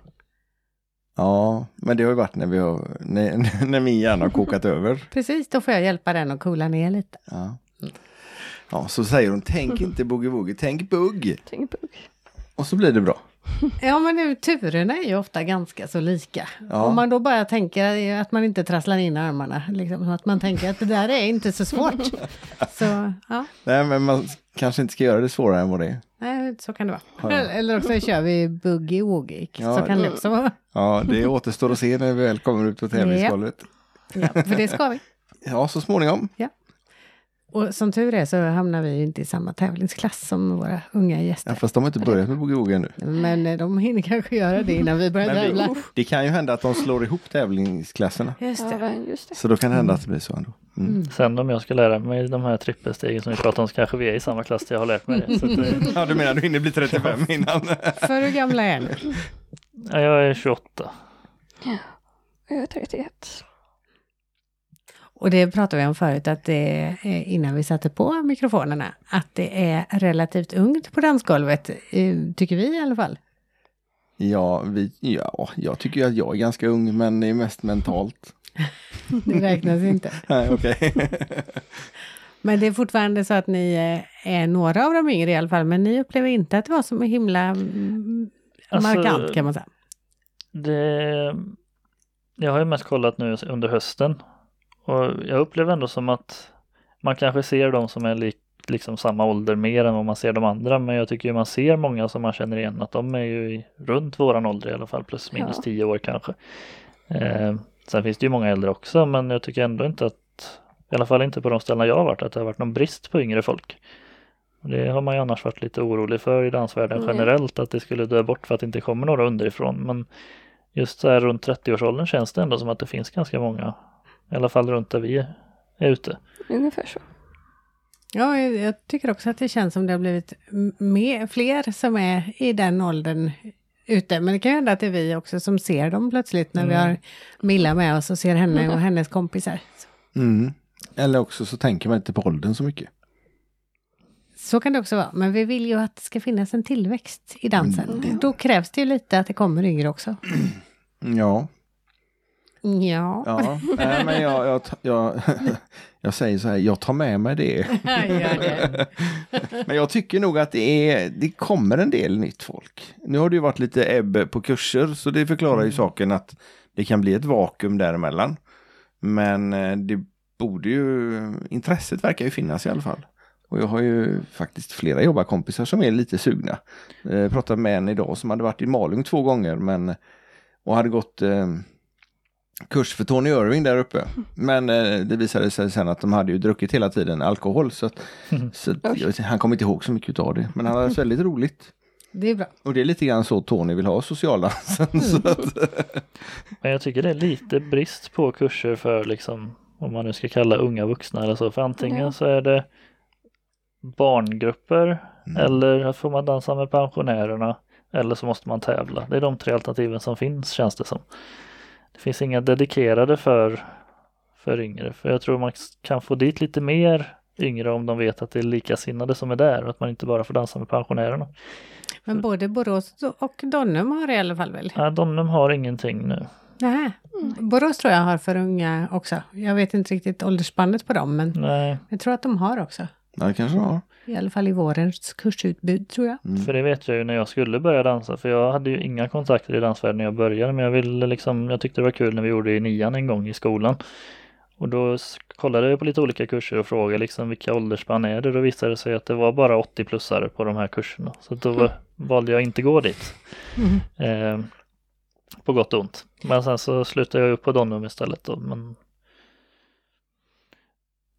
Ja, men det har ju varit när, vi har, när, när min hjärna har kokat över. Precis, då får jag hjälpa den att coola ner lite. Ja. ja, så säger hon, tänk inte boogie-woogie, tänk bugg. Tänk bugg. Och så blir det bra. Ja, men nu, turerna är ju ofta ganska så lika. Ja. Om man då bara tänker att man inte trasslar in armarna, liksom, att man tänker att det där är inte så svårt. så, ja, Nej, men man kanske inte ska göra det svårare än vad det är. nej, så kan det vara. Ja, ja. Eller också kör vi boogie woogie, Ja, så kan det också vara. Ja, det återstår att se när vi väl kommer ut på tävlingsgolvet. Ja, för det ska vi. Ja, så småningom. Och som tur är så hamnar vi ju inte i samma tävlingsklass som våra unga Ja, gäster. fast de har inte börjat med boogie-woogie ännu. Men eh, de hinner kanske göra det innan vi börjar Men tävla. vi, det kan ju hända att de slår ihop tävlingsklasserna. Just Ja, det. men just det. Så då kan det hända att det blir så ändå. Mm. Sen om jag ska lära mig de här trippelstegen som vi pratade om så kanske vi är i samma klass där jag har lärt mig det. Så att, eh, Ja, du menar du hinner bli 35 innan? För hur gamla är ni? ja, jag är 28. Jag är 31. Och det pratade vi om förut, att det, eh, innan vi satte på mikrofonerna, att det är relativt ungt på dansgolvet, eh, tycker vi i alla fall. Ja, vi, ja, jag tycker ju att jag är ganska ung, men det är mest mentalt. Det räknas inte. Nej, okej. Men det är fortfarande så att ni eh, är några av de yngre i alla fall, men ni upplever inte att det var så himla mm, Alltså, markant kan man säga. Det, jag har ju mest kollat nu under hösten och jag upplever ändå som att man kanske ser de som är lik, liksom samma ålder mer än vad man ser de andra men jag tycker ju man ser många som man känner igen att de är ju i, runt våran ålder i alla fall plus minus Ja. 10 år kanske. Eh, sen finns det ju många äldre också men jag tycker ändå inte att i alla fall inte på de ställen jag har varit att det har varit någon brist på yngre folk. Och det har man ju annars varit lite orolig för i dansvärlden Mm. generellt att det skulle dö bort för att det inte kommer några underifrån men just så här runt 30-årsåldern känns det ändå som att det finns ganska många. I alla fall runt där vi är ute. Ungefär så. Ja, jag jag tycker också att det känns som det har blivit m- mer, fler som är i den åldern ute. Men det kan ju hända att det är vi också som ser dem plötsligt när vi Mm. har Milla med oss och ser henne och hennes kompisar. Mm. Eller också så tänker man inte på åldern så mycket. Så kan det också vara, men vi vill ju att det ska finnas en tillväxt i dansen. Mm, Då krävs det ju lite att det kommer yngre också. Ja, Ja. ja. Nej, men jag, jag, jag, jag säger så här, jag tar med mig det. Gör det. Men jag tycker nog att det, är, det kommer en del nytt folk. Nu har det ju varit lite ebb på kurser så det förklarar ju saken att det kan bli ett vakuum däremellan. Men eh, det borde ju, intresset verkar ju finnas i alla fall. Och jag har ju faktiskt flera jobbarkompisar som är lite sugna. Jag pratade med en idag som hade varit i Malung två gånger men och hade gått eh, kurs för Tony Irving där uppe. Men eh, det visade sig sen att de hade ju druckit hela tiden alkohol. Så, att, så att, jag vet inte, han kommer inte ihåg så mycket av det. Men han hade haft väldigt roligt. Det är bra. Och det är lite grann så Tony vill ha socialdansen. Mm. Så att, Men jag tycker det är lite brist på kurser för liksom, om man nu ska kalla unga vuxna eller så, för antingen Ja. så är det barngrupper eller får man dansa med pensionärerna eller så måste man tävla. Det är de tre alternativen som finns känns det som. Det finns inga dedikerade för, för yngre, för jag tror man kan få dit lite mer yngre om de vet att det är likasinnade som är där och att man inte bara får dansa med pensionärerna. Men både Borås och Donnum har i alla fall väl? Nej, Domnum har ingenting nu. Nej. Borås tror jag har för unga också. Jag vet inte riktigt åldersspannet på dem, men Nej, jag tror att de har också. ja, det kanske han har. I alla fall i vårens kursutbud tror jag. Mm. För det vet jag ju när jag skulle börja dansa för jag hade ju inga kontakter i dansvärlden när jag började men jag ville liksom, jag tyckte det var kul när vi gjorde det i nian en gång i skolan. Och då s- kollade jag på lite olika kurser och frågade liksom vilka åldersspann är det? Då visade det sig att det var bara 80-plussare på de här kurserna. Så då valde jag inte gå dit. Eh, på gott och ont. Men sen så slutade jag upp på Donum istället då. Men,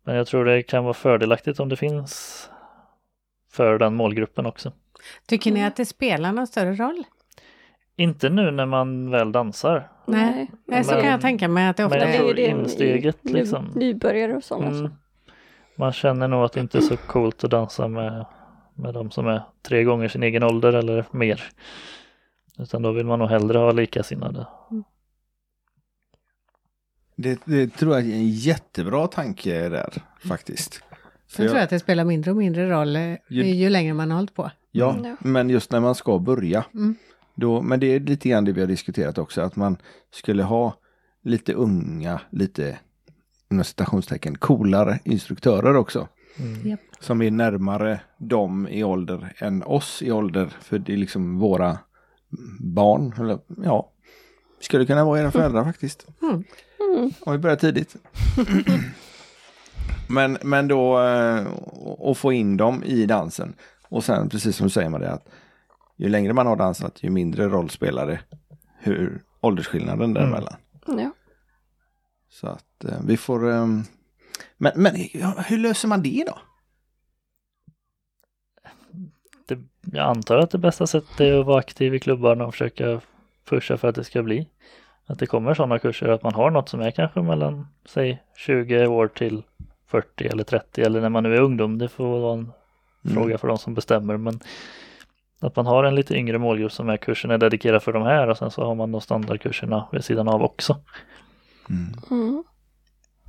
men jag tror det kan vara fördelaktigt om det finns för den målgruppen också. Tycker ni att det spelar någon större roll? Inte nu när man väl dansar. Nej. Nej, så Men- kan jag tänka mig att det ofta men jag är. tror det en insteget, ny- liksom. Nybörjare och alltså. sådana. Mm. Man känner nog att det inte är så coolt att dansa med, med de som är tre gånger sin egen ålder eller mer. Utan då vill man nog hellre ha likasinnade. Det, det tror jag är en jättebra tanke där faktiskt. För Jag tror att det spelar mindre och mindre roll eh, Ju- ju längre man har hållit på. Ja, Mm. men just när man ska börja. Mm. Då, men det är lite grann det vi har diskuterat också, att man skulle ha lite unga, lite inom citationstecken, coolare instruktörer också. Mm. Japp. Som är närmare dem i ålder än oss i ålder, för det är liksom våra barn. Eller, ja, skulle kunna vara era föräldrar faktiskt. Mm. Mm. Om vi börjar tidigt. men, men då, eh, och och få in dem i dansen. Och sen, precis som du säger det att ju längre man har dansat, ju mindre roll spelar det hur åldersskillnaden däremellan. Mm. Ja. Så att eh, vi får... eh, men men ja, hur löser man det då? Det, jag antar att det bästa sättet är att vara aktiv i klubbarna och försöka pusha för att det ska bli. Att det kommer sådana kurser, att man har något som är kanske mellan, säg 20 år till 40 eller 30 eller när man nu är ungdom, det får vara en fråga för de som bestämmer. Men att man har en lite yngre målgrupp som är kursen är dedikerad för de här och sen så har man de standardkurserna vid sidan av också. Mm. Mm.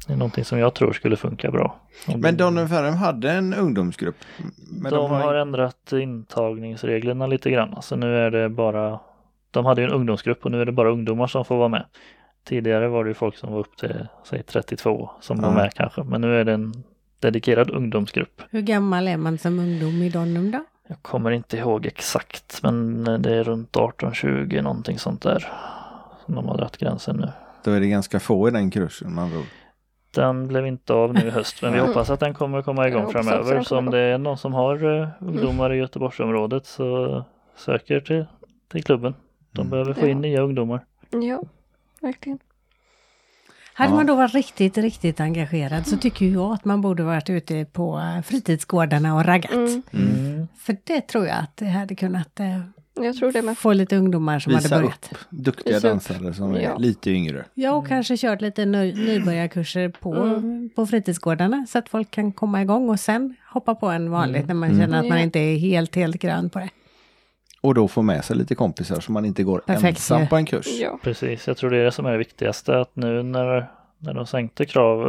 Det är någonting som jag tror skulle funka bra. Om Men det- Donner Ferrum hade en ungdomsgrupp. Men de, har ändrat intagningsreglerna lite grann. Så nu är det bara, de hade ju en ungdomsgrupp och nu är det bara ungdomar som får vara med. Tidigare var det ju folk som var upp till säg 32 som var Ja. med kanske, men nu är det en dedikerad ungdomsgrupp. Hur gammal är man som ungdom i Donnum då? Jag kommer inte ihåg exakt, men det är runt 18-20 någonting sånt där. Som de har dragit gränsen nu. Då är det ganska få i den kursen man andra ord. Den blev inte av nu i höst, men vi hoppas att den kommer komma Mm. Jag igång hoppas också framöver. den Så om kommer Mm. det är någon som har eh, ungdomar i Göteborgsområdet så söker till, till klubben. De Mm. behöver få in Ja. nya ungdomar. ja, verkligen. Hade Ja. man då varit riktigt, riktigt engagerad så tycker ju jag att man borde varit ute på eh, fritidsgårdarna och raggat. Mm. För det tror jag att det hade kunnat eh, Jag tror det med. få lite ungdomar som Visa hade upp Mm. börjat. duktiga Visa upp. dansare som är Ja. lite yngre. Ja, och kanske kört lite ny, nybörjarkurser på, Mm. på fritidsgårdarna så att folk kan komma igång och sen hoppa på en Mm. vanligt när man känner att man Ja. inte är helt, helt grön på det. Och då få med sig lite kompisar så man inte går Perfekt, ensam ju. på en kurs. Ja. Precis, jag tror det är det som är det viktigaste. Att nu när, när de sänkte krav,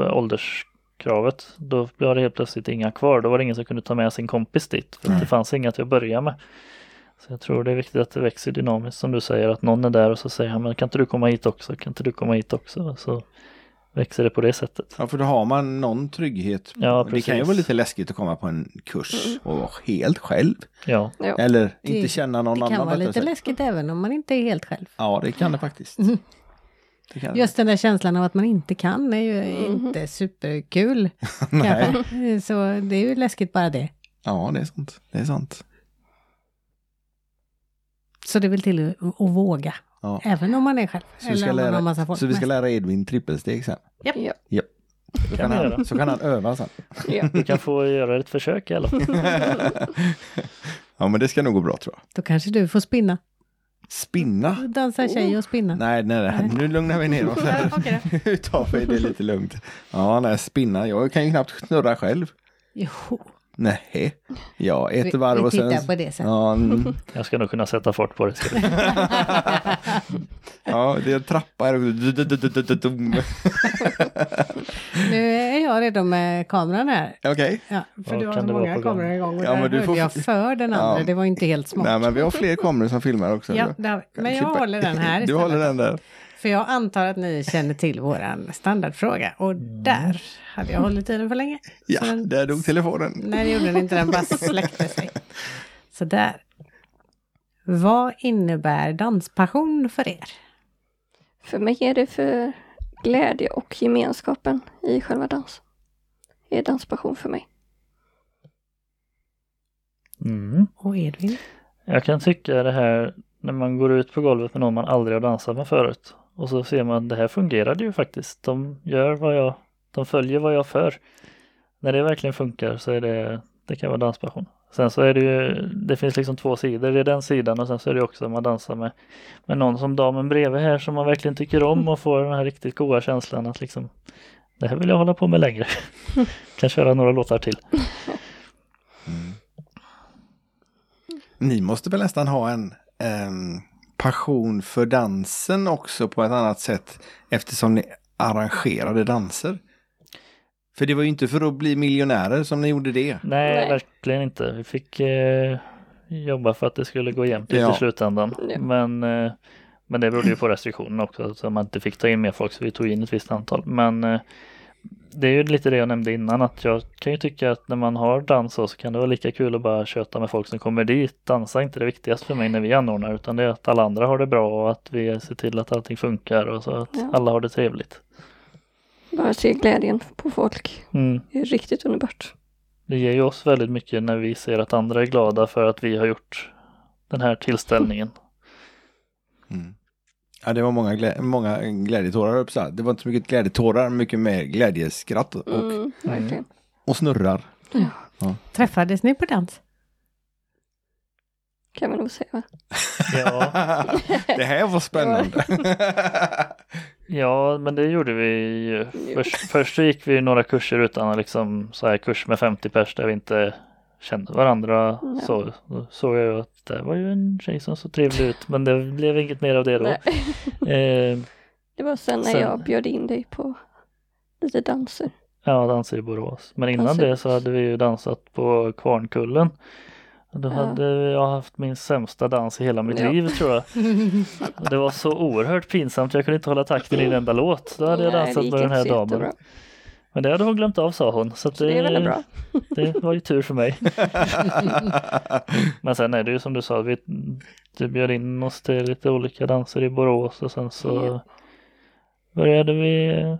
ålderskravet, då blev det helt plötsligt inga kvar. Då var det ingen som kunde ta med sin kompis dit. För att det fanns inga till att börja med. Så jag tror det är viktigt att det växer dynamiskt som du säger. Att någon är där och så säger han, men kan inte du komma hit också? Kan inte du komma hit också? Så växer det på det sättet. Ja, för då har man någon trygghet. Ja, det kan ju precis. vara lite läskigt att komma på en kurs och vara helt själv. Ja, Ja. Äh. Eller Mm. Det- inte känna någon Det annan. kan vara rättare lite sagt. läskigt även om man inte är helt själv. Ja, det kan det faktiskt. Det kan det. Just den där känslan av att man inte kan är ju inte superkul. Mm. Nej. kanske. Så det är ju läskigt bara det. Ja, det är sant. Det är sant. Så det vill till att att våga Ja. Även om man är själv. Så, eller vi ska om man har massa lära, folk så vi ska med sig. lära Edvin trippelsteg sen. Ja. Så Kan kan, vi han, göra. så kan han öva sen. ja. Du kan få göra ett försök i alla fall. Ja men det ska nog gå bra tror jag. Då kanske du får spinna. Spinna? Dansa tjej och spinna. Oh. Nej, nej, nej. nu lugnar vi ner oss. här. okej Nu tar vi det lite lugnt. Ja, nej, spinna. Jag kan ju knappt snurra själv. Jo, Nej, ja, ett vi, varv vi och sen... tittar på det sen. Ja, mm. Jag ska nog kunna sätta fart på det. ska du. ja, det är en trappa här. Okej. Nu är jag redo med kameran här. Ja, för Vad du har kan så det vara många på gång? kameror igång och Ja, där men du hörde får- jag för den andra. Ja. Det var inte helt smart. Nej, men vi har fler kameror som filmar också. ja, det har vi. Men jag Klippa. håller den här Du istället. håller den där. För jag antar att ni känner till våran standardfråga. Och Mm. där hade jag hållit i den för länge. Ja, Så den, där dog telefonen. nej, det gjorde den inte. Den bara släckte sig. Så där. Vad innebär danspassion för er? För mig är det för glädje och gemenskapen i själva dans. Det är danspassion för mig. Mm. Och Edvin? Jag kan tycka det här när man går ut på golvet med någon man aldrig har dansat med förut. Och så ser man att det här fungerade ju faktiskt. De gör vad jag, de följer vad jag för. När det verkligen funkar så är det, det kan vara danspassion. Sen så är det ju, det finns liksom två sidor. Det är den sidan och sen så är det också om man dansar med, med någon som damen bredvid här som man verkligen tycker om och får den här riktigt goda känslan att liksom det här vill jag hålla på med längre. kan köra några låtar till. Ni måste väl nästan ha en ehm, passion för dansen också på ett annat sätt eftersom ni arrangerade danser. För det var ju inte för att bli miljonärer som ni gjorde det. Nej, Nej. verkligen inte. Vi fick eh, jobba för att det skulle gå jämnt ut Ja. i slutändan. Ja. Men, eh, men det berodde ju på restriktionerna också, så man inte fick ta in mer folk, så vi tog in ett visst antal. Men eh, det är ju lite det jag nämnde innan, att jag kan ju tycka att när man har dans så så kan det vara lika kul att bara köta med folk som kommer dit. Dansa är inte det viktigaste för mig när vi anordnar, utan det är att alla andra har det bra och att vi ser till att allting funkar och så att Ja. alla har det trevligt. Bara se glädjen på folk. Mm. Det är riktigt underbart. Det ger ju oss väldigt mycket när vi ser att andra är glada för att vi har gjort den här tillställningen. Mm. Ja, det var många, glä många glädjetårar, höll jag på att säga. Det var inte så mycket glädjetårar, mycket mer glädjeskratt och, Mm, verkligen. och snurrar. Träffades ni på dans? Kan vi nog säga. va? Ja, det här var spännande. ja men det gjorde vi ju. Först, först så gick vi ju några kurser utan att liksom så här kurs med 50 pers där vi inte kände varandra. Nej. Så då såg jag ju att det var ju en tjej som såg trevlig ut men det blev inget mer av det då. Nej, Eh, det var sen när Sen- jag bjöd in dig på lite danser. ja, danser i Borås. Men innan Danser. det så hade vi ju dansat på Kvarnkullen. Då Ja. hade jag haft min sämsta dans i hela mitt Ja. liv tror jag. Och Det var så oerhört pinsamt, jag kunde inte hålla takten i en enda låt. Då hade jag Nej, det dansat gick med den inte här så damen. jättebra. Men det hade hon glömt av sa hon. Så, att Så det är väldigt bra. det var ju tur för mig. Men sen är det ju som du sa, vi du bjöd in oss till lite olika danser i Borås och sen så Ja. började vi eh,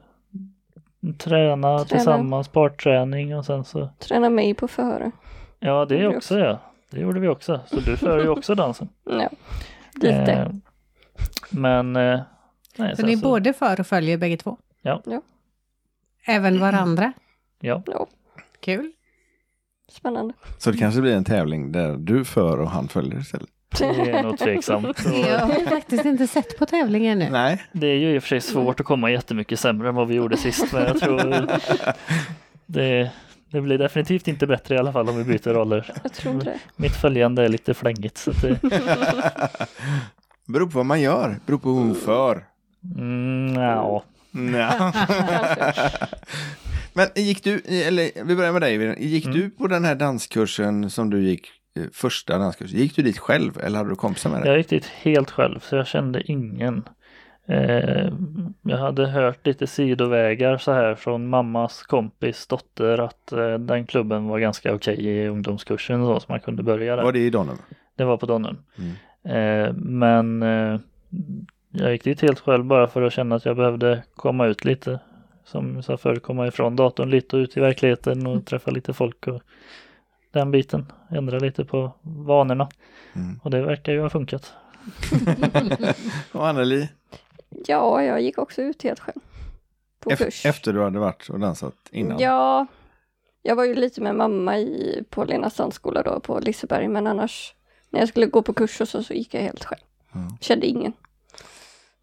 träna, tillsammans, parträning och sen så Träna mig på före. Ja det Det är också. också ja. Det gjorde vi också. Så du för ju också dansen. Ja, lite. Eh, Men eh, nej, Så sen ni är både för och följer bägge två? Ja. Ja. Även varandra? Ja. Ja, Kul. spännande. Så det kanske blir en tävling där du för och han följer istället. Det är nog tveksamt. Och Jag har ju faktiskt inte sett på tävlingen nu. Nej, Det är ju i och för sig svårt att komma jättemycket sämre än vad vi gjorde sist men jag tror det, det blir definitivt inte bättre i alla fall om vi byter roller. Jag tror inte det. Mitt följande är lite flängigt så att det, beror på vad man gör. Beror på hur hon för. mm, ja. Nja. Men gick du, eller vi börjar med dig, Vivian. gick du på den här danskursen som du gick, eh, första danskursen, gick du dit själv eller hade du kompisar med dig? Jag gick dit helt själv så jag kände ingen. Eh, jag hade hört lite sidovägar så här från mammas kompis dotter att eh, den klubben var ganska okej i ungdomskursen och så, så man kunde börja där. Var det i Donum? Det var på Donum. Eh, men eh, jag gick dit helt själv bara för att känna att jag behövde komma ut lite. Som jag sa förr, komma ifrån datorn lite och ut i verkligheten och träffa lite folk och den biten. Ändra lite på vanorna. Mm. Och det verkar ju ha funkat. Och Anneli, Ja, jag gick också ut helt själv. På kurs. ef- efter du hade varit och dansat innan? Ja, jag var ju lite med mamma i, på Lena Sandskola då på Liseberg, men annars när jag skulle gå på kurs och så, så gick jag helt själv. Ja. Kände ingen.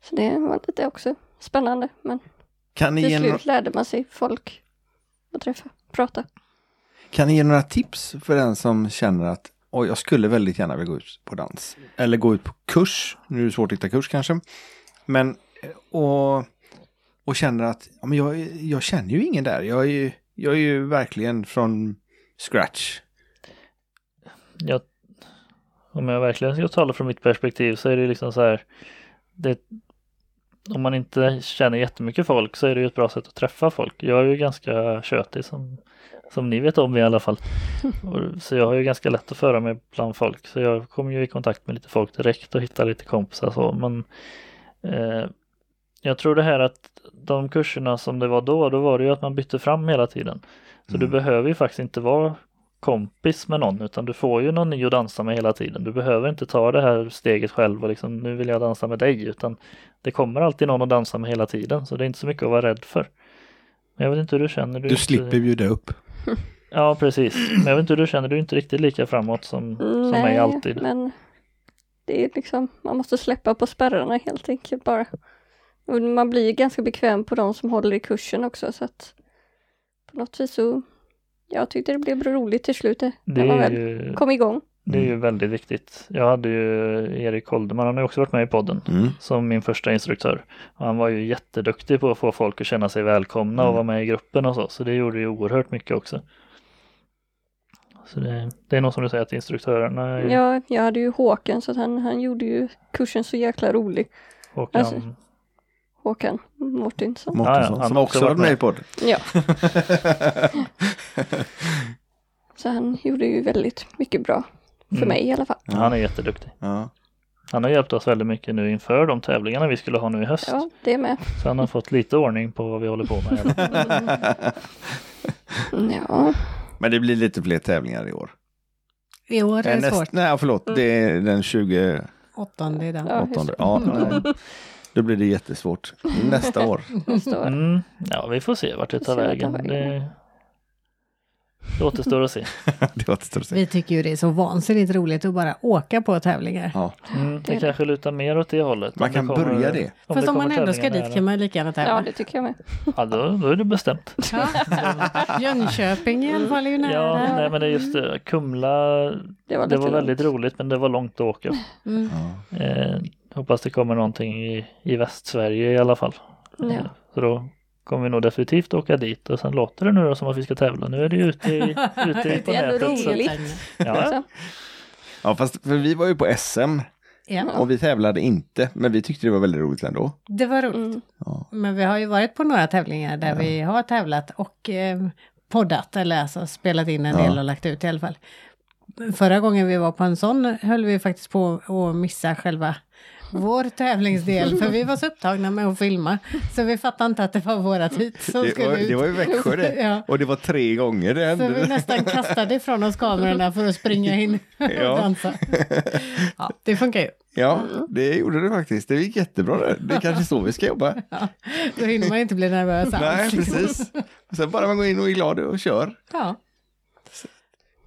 Så det var lite också spännande, men Kan, ni till ge no- slut lärde man sig folk att träffa, prata. kan ni ge några tips för den som känner att oj, jag skulle väldigt gärna vilja gå ut på dans? Eller gå ut på kurs, nu är det svårt att hitta kurs kanske. Men, eh, och, och känner att ja, men jag, jag känner ju ingen där. Jag är ju, jag är ju verkligen från scratch. jag, om jag verkligen ska tala från mitt perspektiv så är det ju liksom så här. Det, om man inte känner jättemycket folk så är det ju ett bra sätt att träffa folk. Jag är ju ganska tjötig som, som ni vet om i alla fall. Och, så jag har ju ganska lätt att föra mig bland folk. Så jag kommer ju i kontakt med lite folk direkt och hittar lite kompisar så. Men eh, jag tror det här att de kurserna som det var då, då var det ju att man bytte fram hela tiden. Så du behöver ju faktiskt inte vara kompis med någon utan du får ju någon ny att dansa med hela tiden. Du behöver inte ta det här steget själv och liksom nu vill jag dansa med dig utan det kommer alltid någon att dansa med hela tiden så det är inte så mycket att vara rädd för. Men jag vet inte hur du känner. är Du inte- slipper bjuda upp. Ja precis, men jag vet inte hur du känner. Du är inte riktigt lika framåt som, som mig alltid. Mm, men det är liksom, man måste släppa på spärrarna helt enkelt bara. Och man blir ju ganska bekväm på de som håller i kursen också så att på något vis så, jag tyckte det blev roligt till slut eh, Det när man är väl ju, kom igång. det är ju väldigt viktigt. Jag hade ju Erik Holderman, han har ju också varit med i podden. Mm. som min första instruktör. Och han var ju jätteduktig på att få folk att känna sig välkomna och vara Mm. med i gruppen och så, så det gjorde ju oerhört mycket också. Så det, det är nog som du säger att instruktörerna är ja. Ja, jag hade ju Håkan så att han, han gjorde ju kursen så jäkla rolig. och alltså. Håkan Mårtensson. Mårtensson, Ja, ja, han som har också också varit varit med i podden. Ja. Så han gjorde ju väldigt mycket bra. För Mm. mig i alla fall. han är jätteduktig. Ja. Han har hjälpt oss väldigt mycket nu inför de tävlingarna vi skulle ha nu i höst. Ja, det är med. Så han har fått lite ordning på vad vi håller på med. hela- Mm, Ja, Men det blir lite fler tävlingar i år. Eh, I år är det Näst- svårt. Mm. nej, förlåt. Det är den 28. Åttonde idag. Ja. just det. Ja, nej. Då blir det jättesvårt. Nästa år. nästa år. Mm, ja, vi får se vart det Vi tar ser vart det vägen. tar vägen. Det, det återstår att se. Det återstår att se. Vi tycker ju det är så vansinnigt roligt att bara åka på tävlingar. Ja. Mm, Det är det det. kanske lutar mer åt det hållet. Man om kan det kommer- börja det. om Fast det om man kommer ändå ska tävlingar dit nära. kan man ju lika gärna Ja, tävla. det tycker jag med. Ja, då, då är det bestämt. Ja. Jönköping i alla fall är ju nära. Ja, nej men det är just det. Kumla, Det det var, var lite väldigt långt. roligt men det var långt att åka. Mm. Ja. Eh, hoppas det kommer någonting i, i Västsverige i alla fall. Ja. Eh, Så då kommer vi nog definitivt åka dit och sen låter det nu då som att vi ska tävla. Nu är det ju ute, i, ute på Det är ändå nätet. Så, roligt. ja, Så, ja, fast för vi var ju på SM Ja, och vi tävlade inte, men vi tyckte det var väldigt roligt ändå. det var roligt. mm. Ja. Men vi har ju varit på några tävlingar där vi har tävlat och eh, poddat, eller alltså spelat in en Ja. del och lagt ut i alla fall. Förra gången vi var på en sån höll vi faktiskt på att missa själva vår tävlingsdel, för vi var så upptagna med att filma, så vi fattade inte att det var våra hit som Det, skulle var, ut. det var ju Växjö det. Ja. Och det var tre gånger Så det vi hände. nästan kastade ifrån oss kamerorna för att springa in och Ja. dansa. Ja, det funkar ju. Ja, det gjorde det faktiskt. Det gick jättebra det. Det är kanske så vi ska jobba. Ja. Då hinner man inte bli nervös alls. Nej, liksom. precis. Sen bara man går in och är glad och kör. Ja.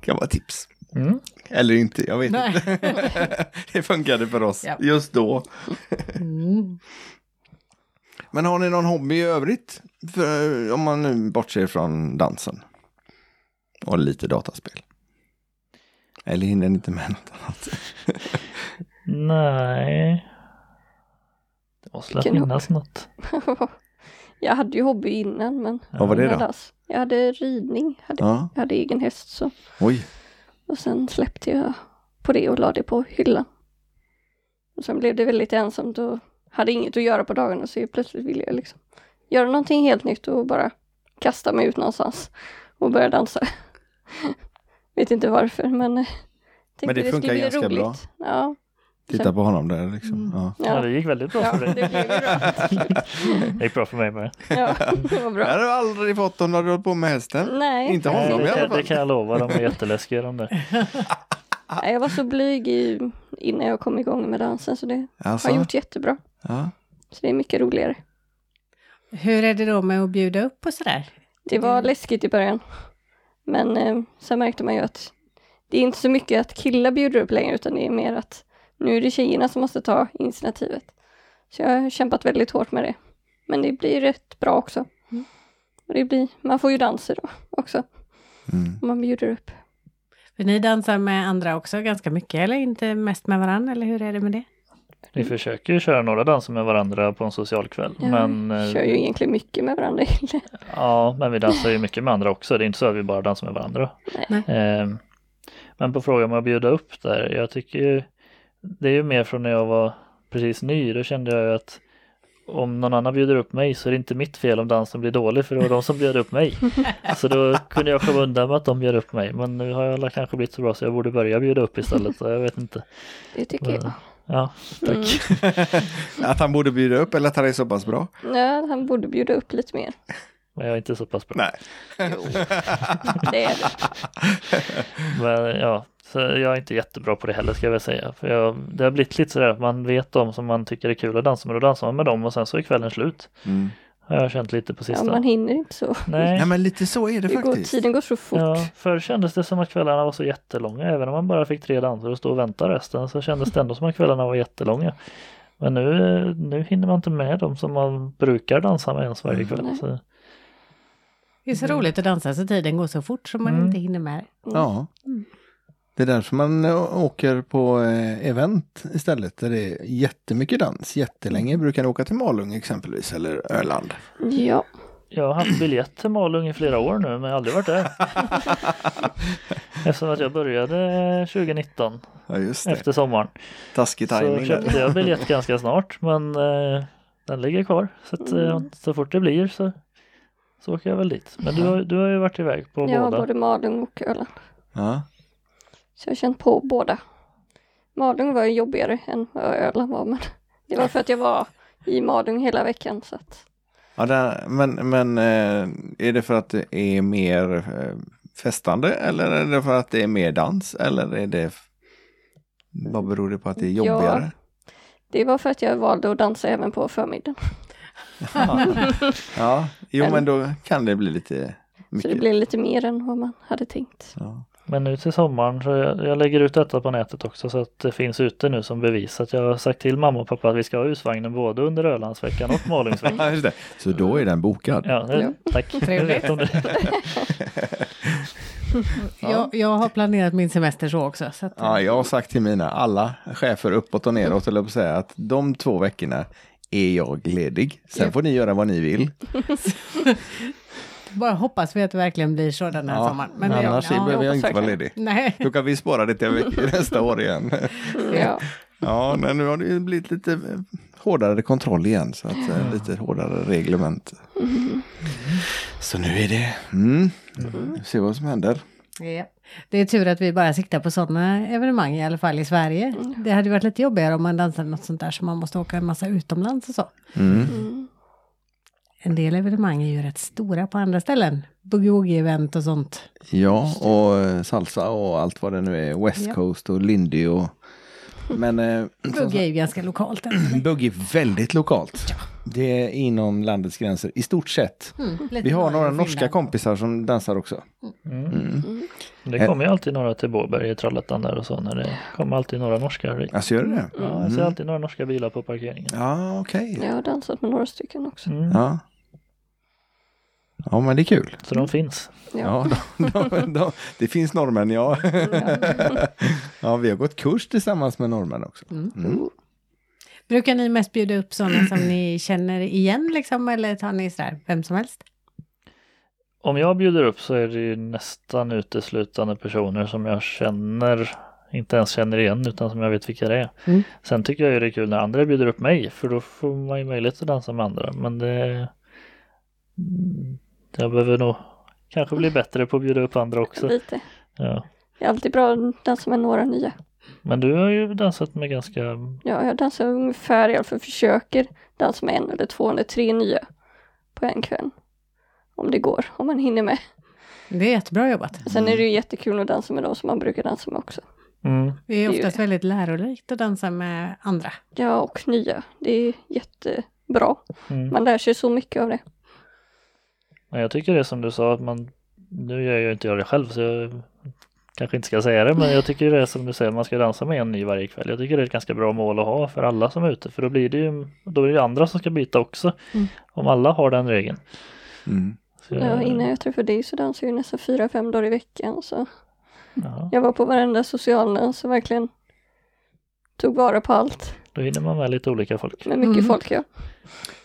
kan vara tips. mm. Eller inte, jag vet Nej. inte. det funkade för oss Ja. just då. Mm. Men har ni någon hobby i övrigt? För, eh, om man nu bortser från dansen. Och lite dataspel. Eller hinner ni inte med något annat? Nej. Det måste Vilken finnas något. jag hade ju hobby innan, men Vad var det innan då? dess. Jag hade ridning, hade, Ja, jag hade egen häst så. oj. Och sen släppte jag på det och la det på hyllan. Och sen blev det väldigt ensamt och hade inget att göra på dagarna så jag plötsligt ville jag liksom göra någonting helt nytt och bara kasta mig ut någonstans och börja dansa. vet inte varför men eh, tänkte Men det skulle funkar bli ganska bra. Ja, Titta på honom där Mm. liksom. Ja. Ja. ja. det gick väldigt bra ja, för det dig. blev ju bra. Det gick bra för mig med. Ja, det var Det bra. Mm. hade du aldrig fått om du hade hållit på med hästen. Nej, Inte Nej, honom i det, alla kan, det fall. kan jag lova, de är jätteläskiga de där. Nej, jag var så blyg i, innan jag kom igång med dansen så det Alltså, har gjort jättebra. ja. Så det är mycket roligare. Hur är det då med att bjuda upp och sådär? Det Mm. var läskigt i början. Men eh, sen märkte man ju att det är inte så mycket att killar bjuder upp längre utan det är mer att nu är det tjejerna som måste ta initiativet. Så jag har kämpat väldigt hårt med det. Men det blir rätt bra också. Och det blir, man får ju danser då också Mm. om man bjuder upp. För ni dansar med andra också ganska mycket, eller inte mest med varandra, eller hur är det med det? Vi försöker ju köra några danser med varandra på en social kväll. Jag men, eh, kör ju egentligen mycket med varandra. Ja, men vi dansar ju mycket med andra också. Det är inte så att vi bara dansar med varandra. Nej. Ehm, Men på frågan om att bjuda upp där, jag tycker ju, det är ju mer från när jag var precis ny, då kände jag ju att om någon annan bjuder upp mig så är det inte mitt fel om dansen blir dålig för det var de som bjöd upp mig. Så då kunde jag komma undan med att de bjöd upp mig. Men nu har jag kanske blivit så bra så jag borde börja bjuda upp istället. så Jag vet inte. det tycker jag. Ja, tack. Mm. Att han borde bjuda upp eller att han är så pass bra? Nej, han borde bjuda upp lite mer. Men jag är inte så pass bra. Nej. Det är det. Men ja, så jag är inte jättebra på det heller ska jag väl säga. För jag, det har blivit lite sådär att man vet dem som man tycker är kul att dansa med, då dansar man med dem och sen så är kvällen slut. Mm. Har jag känt lite på Ja, sistone. man hinner inte så. Nej, Nej men lite så är det Det går, faktiskt. tiden går så fort. ja, förr kändes det som att kvällarna var så jättelånga. Även om man bara fick tre danser och stå och vänta resten så kändes det ändå som att kvällarna var jättelånga. Men nu, nu hinner man inte med dem som man brukar dansa med ens varje kväll. Nej. Så, Det är så roligt att dansa så tiden går så fort som man Mm. inte hinner med. Ja. Mm. Det är därför man eh, åker på eh, event istället där det är jättemycket dans. Jättelänge Mm. brukar ni åka till Malung exempelvis eller Öland. Ja. jag har haft biljett till Malung i flera år nu men jag har aldrig varit där. Eftersom att jag började 2019 Ja just efter sommaren. Taskig Så tajming. där. köpte jag biljett ganska snart men eh, den ligger kvar. Så, att, eh, Mm. så fort det blir så, så åker jag väl dit. Men du, har- du har ju varit iväg på Jag har båda. både Malung och Öland. Ja. Så jag har känt på båda. Malung var ju jobbigare än vad Öland var men det var för att jag var i Malung hela veckan så att Ja, där, men men eh, är det för att det är mer eh, festande eller är det för att det är mer dans eller är det vad beror det på att det är Ja. jobbigare? det var för att jag valde att dansa även på förmiddagen. Ja, jo Eller- men då kan det bli lite Så mycket. det blev lite mer än vad man hade tänkt. ja. Men nu till sommaren så jag, jag lägger ut detta på nätet också så att det finns ute nu som bevis. Att jag har sagt till mamma och pappa att vi ska ha husvagnen både under Ölandsveckan och Malungsveckan. Ja, just det. Så då är den bokad. Ja, det, Ja. tack. Nu Trevligt. vet de det. Jag, jag har planerat min semester så också. Så att, Ja, jag har sagt till mina alla chefer uppåt och neråt, eller på säga att de två veckorna är jag ledig. Sen får ni göra vad ni vill. Bara hoppas vi att det verkligen blir så den här Ja, sommaren. men det- annars ja, behöver jag inte vara verkligen. ledig. Nej, Då kan vi spara det till veck- nästa år igen. Ja. Ja, men nu har det ju blivit lite eh, hårdare kontroll igen, så att eh, lite hårdare reglement. Så nu är det, mm. Vi ser vad som händer. Ja. Det är tur att vi bara siktar på sådana evenemang i alla fall i Sverige. Det hade ju varit lite jobbigare om man dansade något sånt där som man måste åka en massa utomlands och så. Mm. En del evenemang är ju rätt stora på andra ställen. Boogie-event och sånt. Ja, och eh, salsa och allt vad det nu är, West Ja. Coast och Lindy och... Men eh, som Boogie är ju ganska lokalt. än. Bugg är väldigt lokalt. Det är inom landets gränser, i stort sett. Mm, lite Vi har Norge några och norska Finland. kompisar som dansar också. mm. Mm. Eh. Det kommer ju alltid några till Båberg i Trollhättan där och så när det kommer alltid några norskar dit. Alltså gör det det? Ja, jag ser alltid några norska bilar på parkeringen. Ja, okej. Jag har dansat med några stycken också. Mm, Ja. ja, men det är kul. så de finns. Ja. Ja, de, de, de, det finns norrmän, ja. Ja, vi har gått kurs tillsammans med norrmän också. Mm. Brukar ni mest bjuda upp sådana som ni känner igen liksom? Eller tar ni sådär vem som helst? Om jag bjuder upp så är det ju nästan uteslutande personer som jag känner, inte ens känner igen utan som jag vet vilka det är. Mm. Sen tycker jag ju det är kul när andra bjuder upp mig för då får man ju möjlighet att dansa med andra. Men det... Mm, Jag behöver nog kanske bli bättre på att bjuda upp andra också. Lite. Ja. Det är alltid bra att dansa med några nya. Men du har ju dansat med ganska... Ja, jag dansar ungefär, i alla fall försöker dansa med en eller två eller tre nya på en kväll. Om det går, om man hinner med. Det är jättebra jobbat. Sen är det ju jättekul att dansa med de som man brukar dansa med också. Mm. Det är är ju oftast det. väldigt lärorikt att dansa med andra. Ja, och nya. Det är jättebra. Mm. Man lär sig så mycket av det. Men jag tycker det är som du sa att man, nu gör jag ju inte jag det själv så jag kanske inte ska säga det, men jag tycker det är som du säger, man ska dansa med en ny varje kväll. Jag tycker det är ett ganska bra mål att ha för alla som är ute, för då blir det ju, då är det ju andra som ska byta också. Mm. Om alla har den regeln. Mm. Så Ja, innan jag träffade dig så dansade jag ju nästan fyra, fem dagar i veckan. Så ja, jag var på varenda socialdans och verkligen tog vara på allt. då hinner man med lite olika folk. Med mycket Mm. folk ja.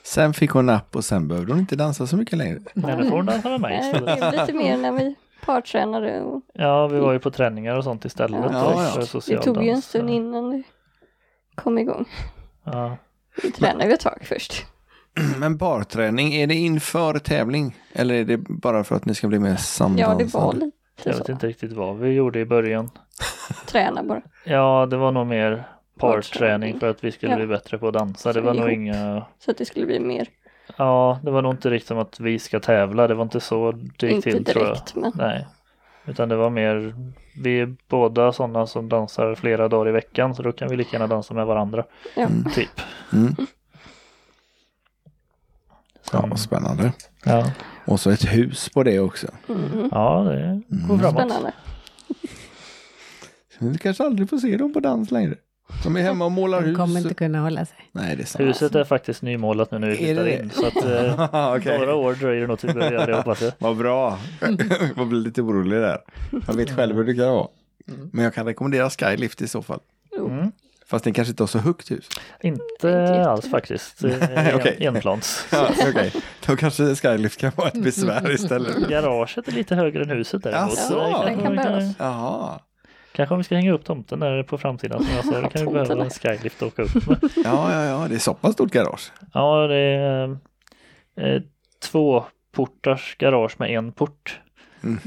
Sen fick hon napp och sen behövde hon inte dansa så mycket längre. Men nu får hon dansa med mig Nej, Det istället. blev lite mer när vi partränade och Ja, vi var ju på träningar och sånt istället. Ja, då, ja. för det social tog ju en dans. stund innan det kom igång. Ja. Vi tränade ju ett tag först. Men barträning, är det inför tävling? Eller är det bara för att ni ska bli mer Ja, samdansande? det var lite Jag vet så. inte riktigt vad vi gjorde i början. Träna bara. Ja, det var nog mer parträning Parträning. för att vi skulle Ja. bli bättre på att dansa. Det Så var nog ihop. inga... Så att det skulle bli mer. Ja, det var nog inte riktigt som att vi ska tävla. Det var inte så det gick inte till tror jag. direkt, men Nej. Utan det var mer, vi är båda sådana som dansar flera dagar i veckan så då kan vi lika gärna dansa med varandra. ja. Mm. Typ. Mm. Ja, Sen- vad spännande. ja. Och så ett hus på det också. Mhm. ja, det går framåt. Spännande. Vi kanske aldrig får se dem på dans längre. De är hemma och målar De hus. kommer inte kunna hålla sig. Nej, det är sant. Huset är faktiskt nymålat nu när vi Är flyttar det det? in. Så att, eh, Okej. några år dröjer det nog tills vi börjar göra det hoppas jag. Vad bra. jag blir lite orolig där. Jag vet själv hur det kan vara. Men jag kan rekommendera Skylift i så fall. Mm. Fast den kanske inte har så högt hus. Inte Oh. jätte- alls faktiskt. Nej, Nej, okej. en, enplans. Ja, okay. Då kanske Skylift kan vara ett besvär istället. Garaget är lite högre än huset däremot. Jaså? Så det kanske Den kan vi behövas. Jaha. Kanske om vi ska hänga upp tomten där på framsidan som jag sa. Då kan vi behöva en skylift att åka upp med. Ja, ja, ja. Det är så pass stort garage. Ja, det är eh, två portars garage med en port. Mhm.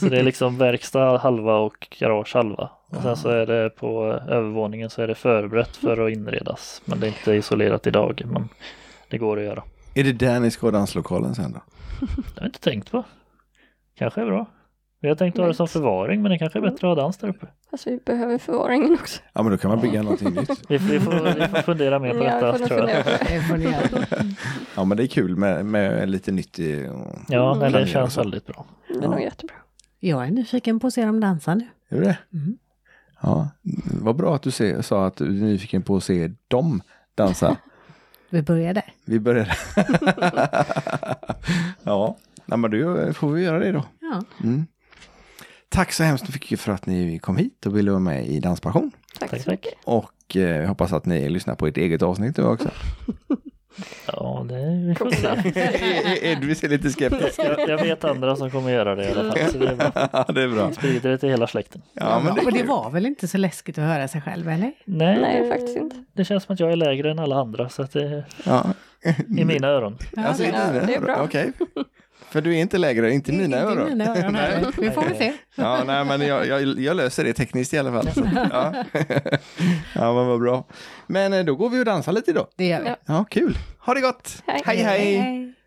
Så det är liksom verkstad halva och garage halva. Och sen så är det på övervåningen så är det förberett för att inredas. Men det är inte isolerat idag. Men det går att göra. Är det där ni ska ha danslokalen sen då? Det har jag inte tänkt på. Kanske är bra. Vi har tänkt ha det som förvaring men det kanske är bättre att ha dans där uppe. Fast vi behöver förvaringen också. Ja, men då kan man bygga någonting nytt. Vi, vi, får, vi får fundera mer Ja, vi på detta får nog tror jag. fundera på det. Det får ni göra. Ja, men det är kul med, med lite nytt. i- Ja, nej, det Mm. Planera känns så. väldigt bra. Det är Ja. nog jättebra. Jag är nyfiken på att se dem dansa nu. Är du det? Mm. Ja, vad bra att du se, sa att du är nyfiken på att se dem dansa. Vi börjar där. Vi börjar. ja, nej, men då får vi göra det då. Ja. Mm. Tack så hemskt mycket för att ni kom hit och ville vara med i Danspassion. Tack, Tack, så tack. mycket. Och eh, jag hoppas att ni lyssnar på ert eget avsnitt nu också. Ja, det vi får se. Edvin ser lite skeptisk Jag, jag vet andra som kommer göra det i alla fall. Så det är bra. Ja, det är bra. Sprider det till hela släkten. Ja, men det och är det kul. var väl inte så läskigt att höra sig själv, eller? Nej, Nej, det, faktiskt inte. det känns som att jag är lägre än alla andra så att det, Ja. i mina öron. Alltså, inte Ja, dina det är öron. bra. Okej. För du är inte lägre, inte mina Inte öron. i mina öron heller. Vi får väl se. Ja, nej, men jag, jag, jag löser det tekniskt i alla fall. Så, att, ja. ja, men vad bra. Men eh, då går vi och dansar lite då. Det gör vi. Ja. Ja, kul. Ha det gott. Hej. hej. hej. hej.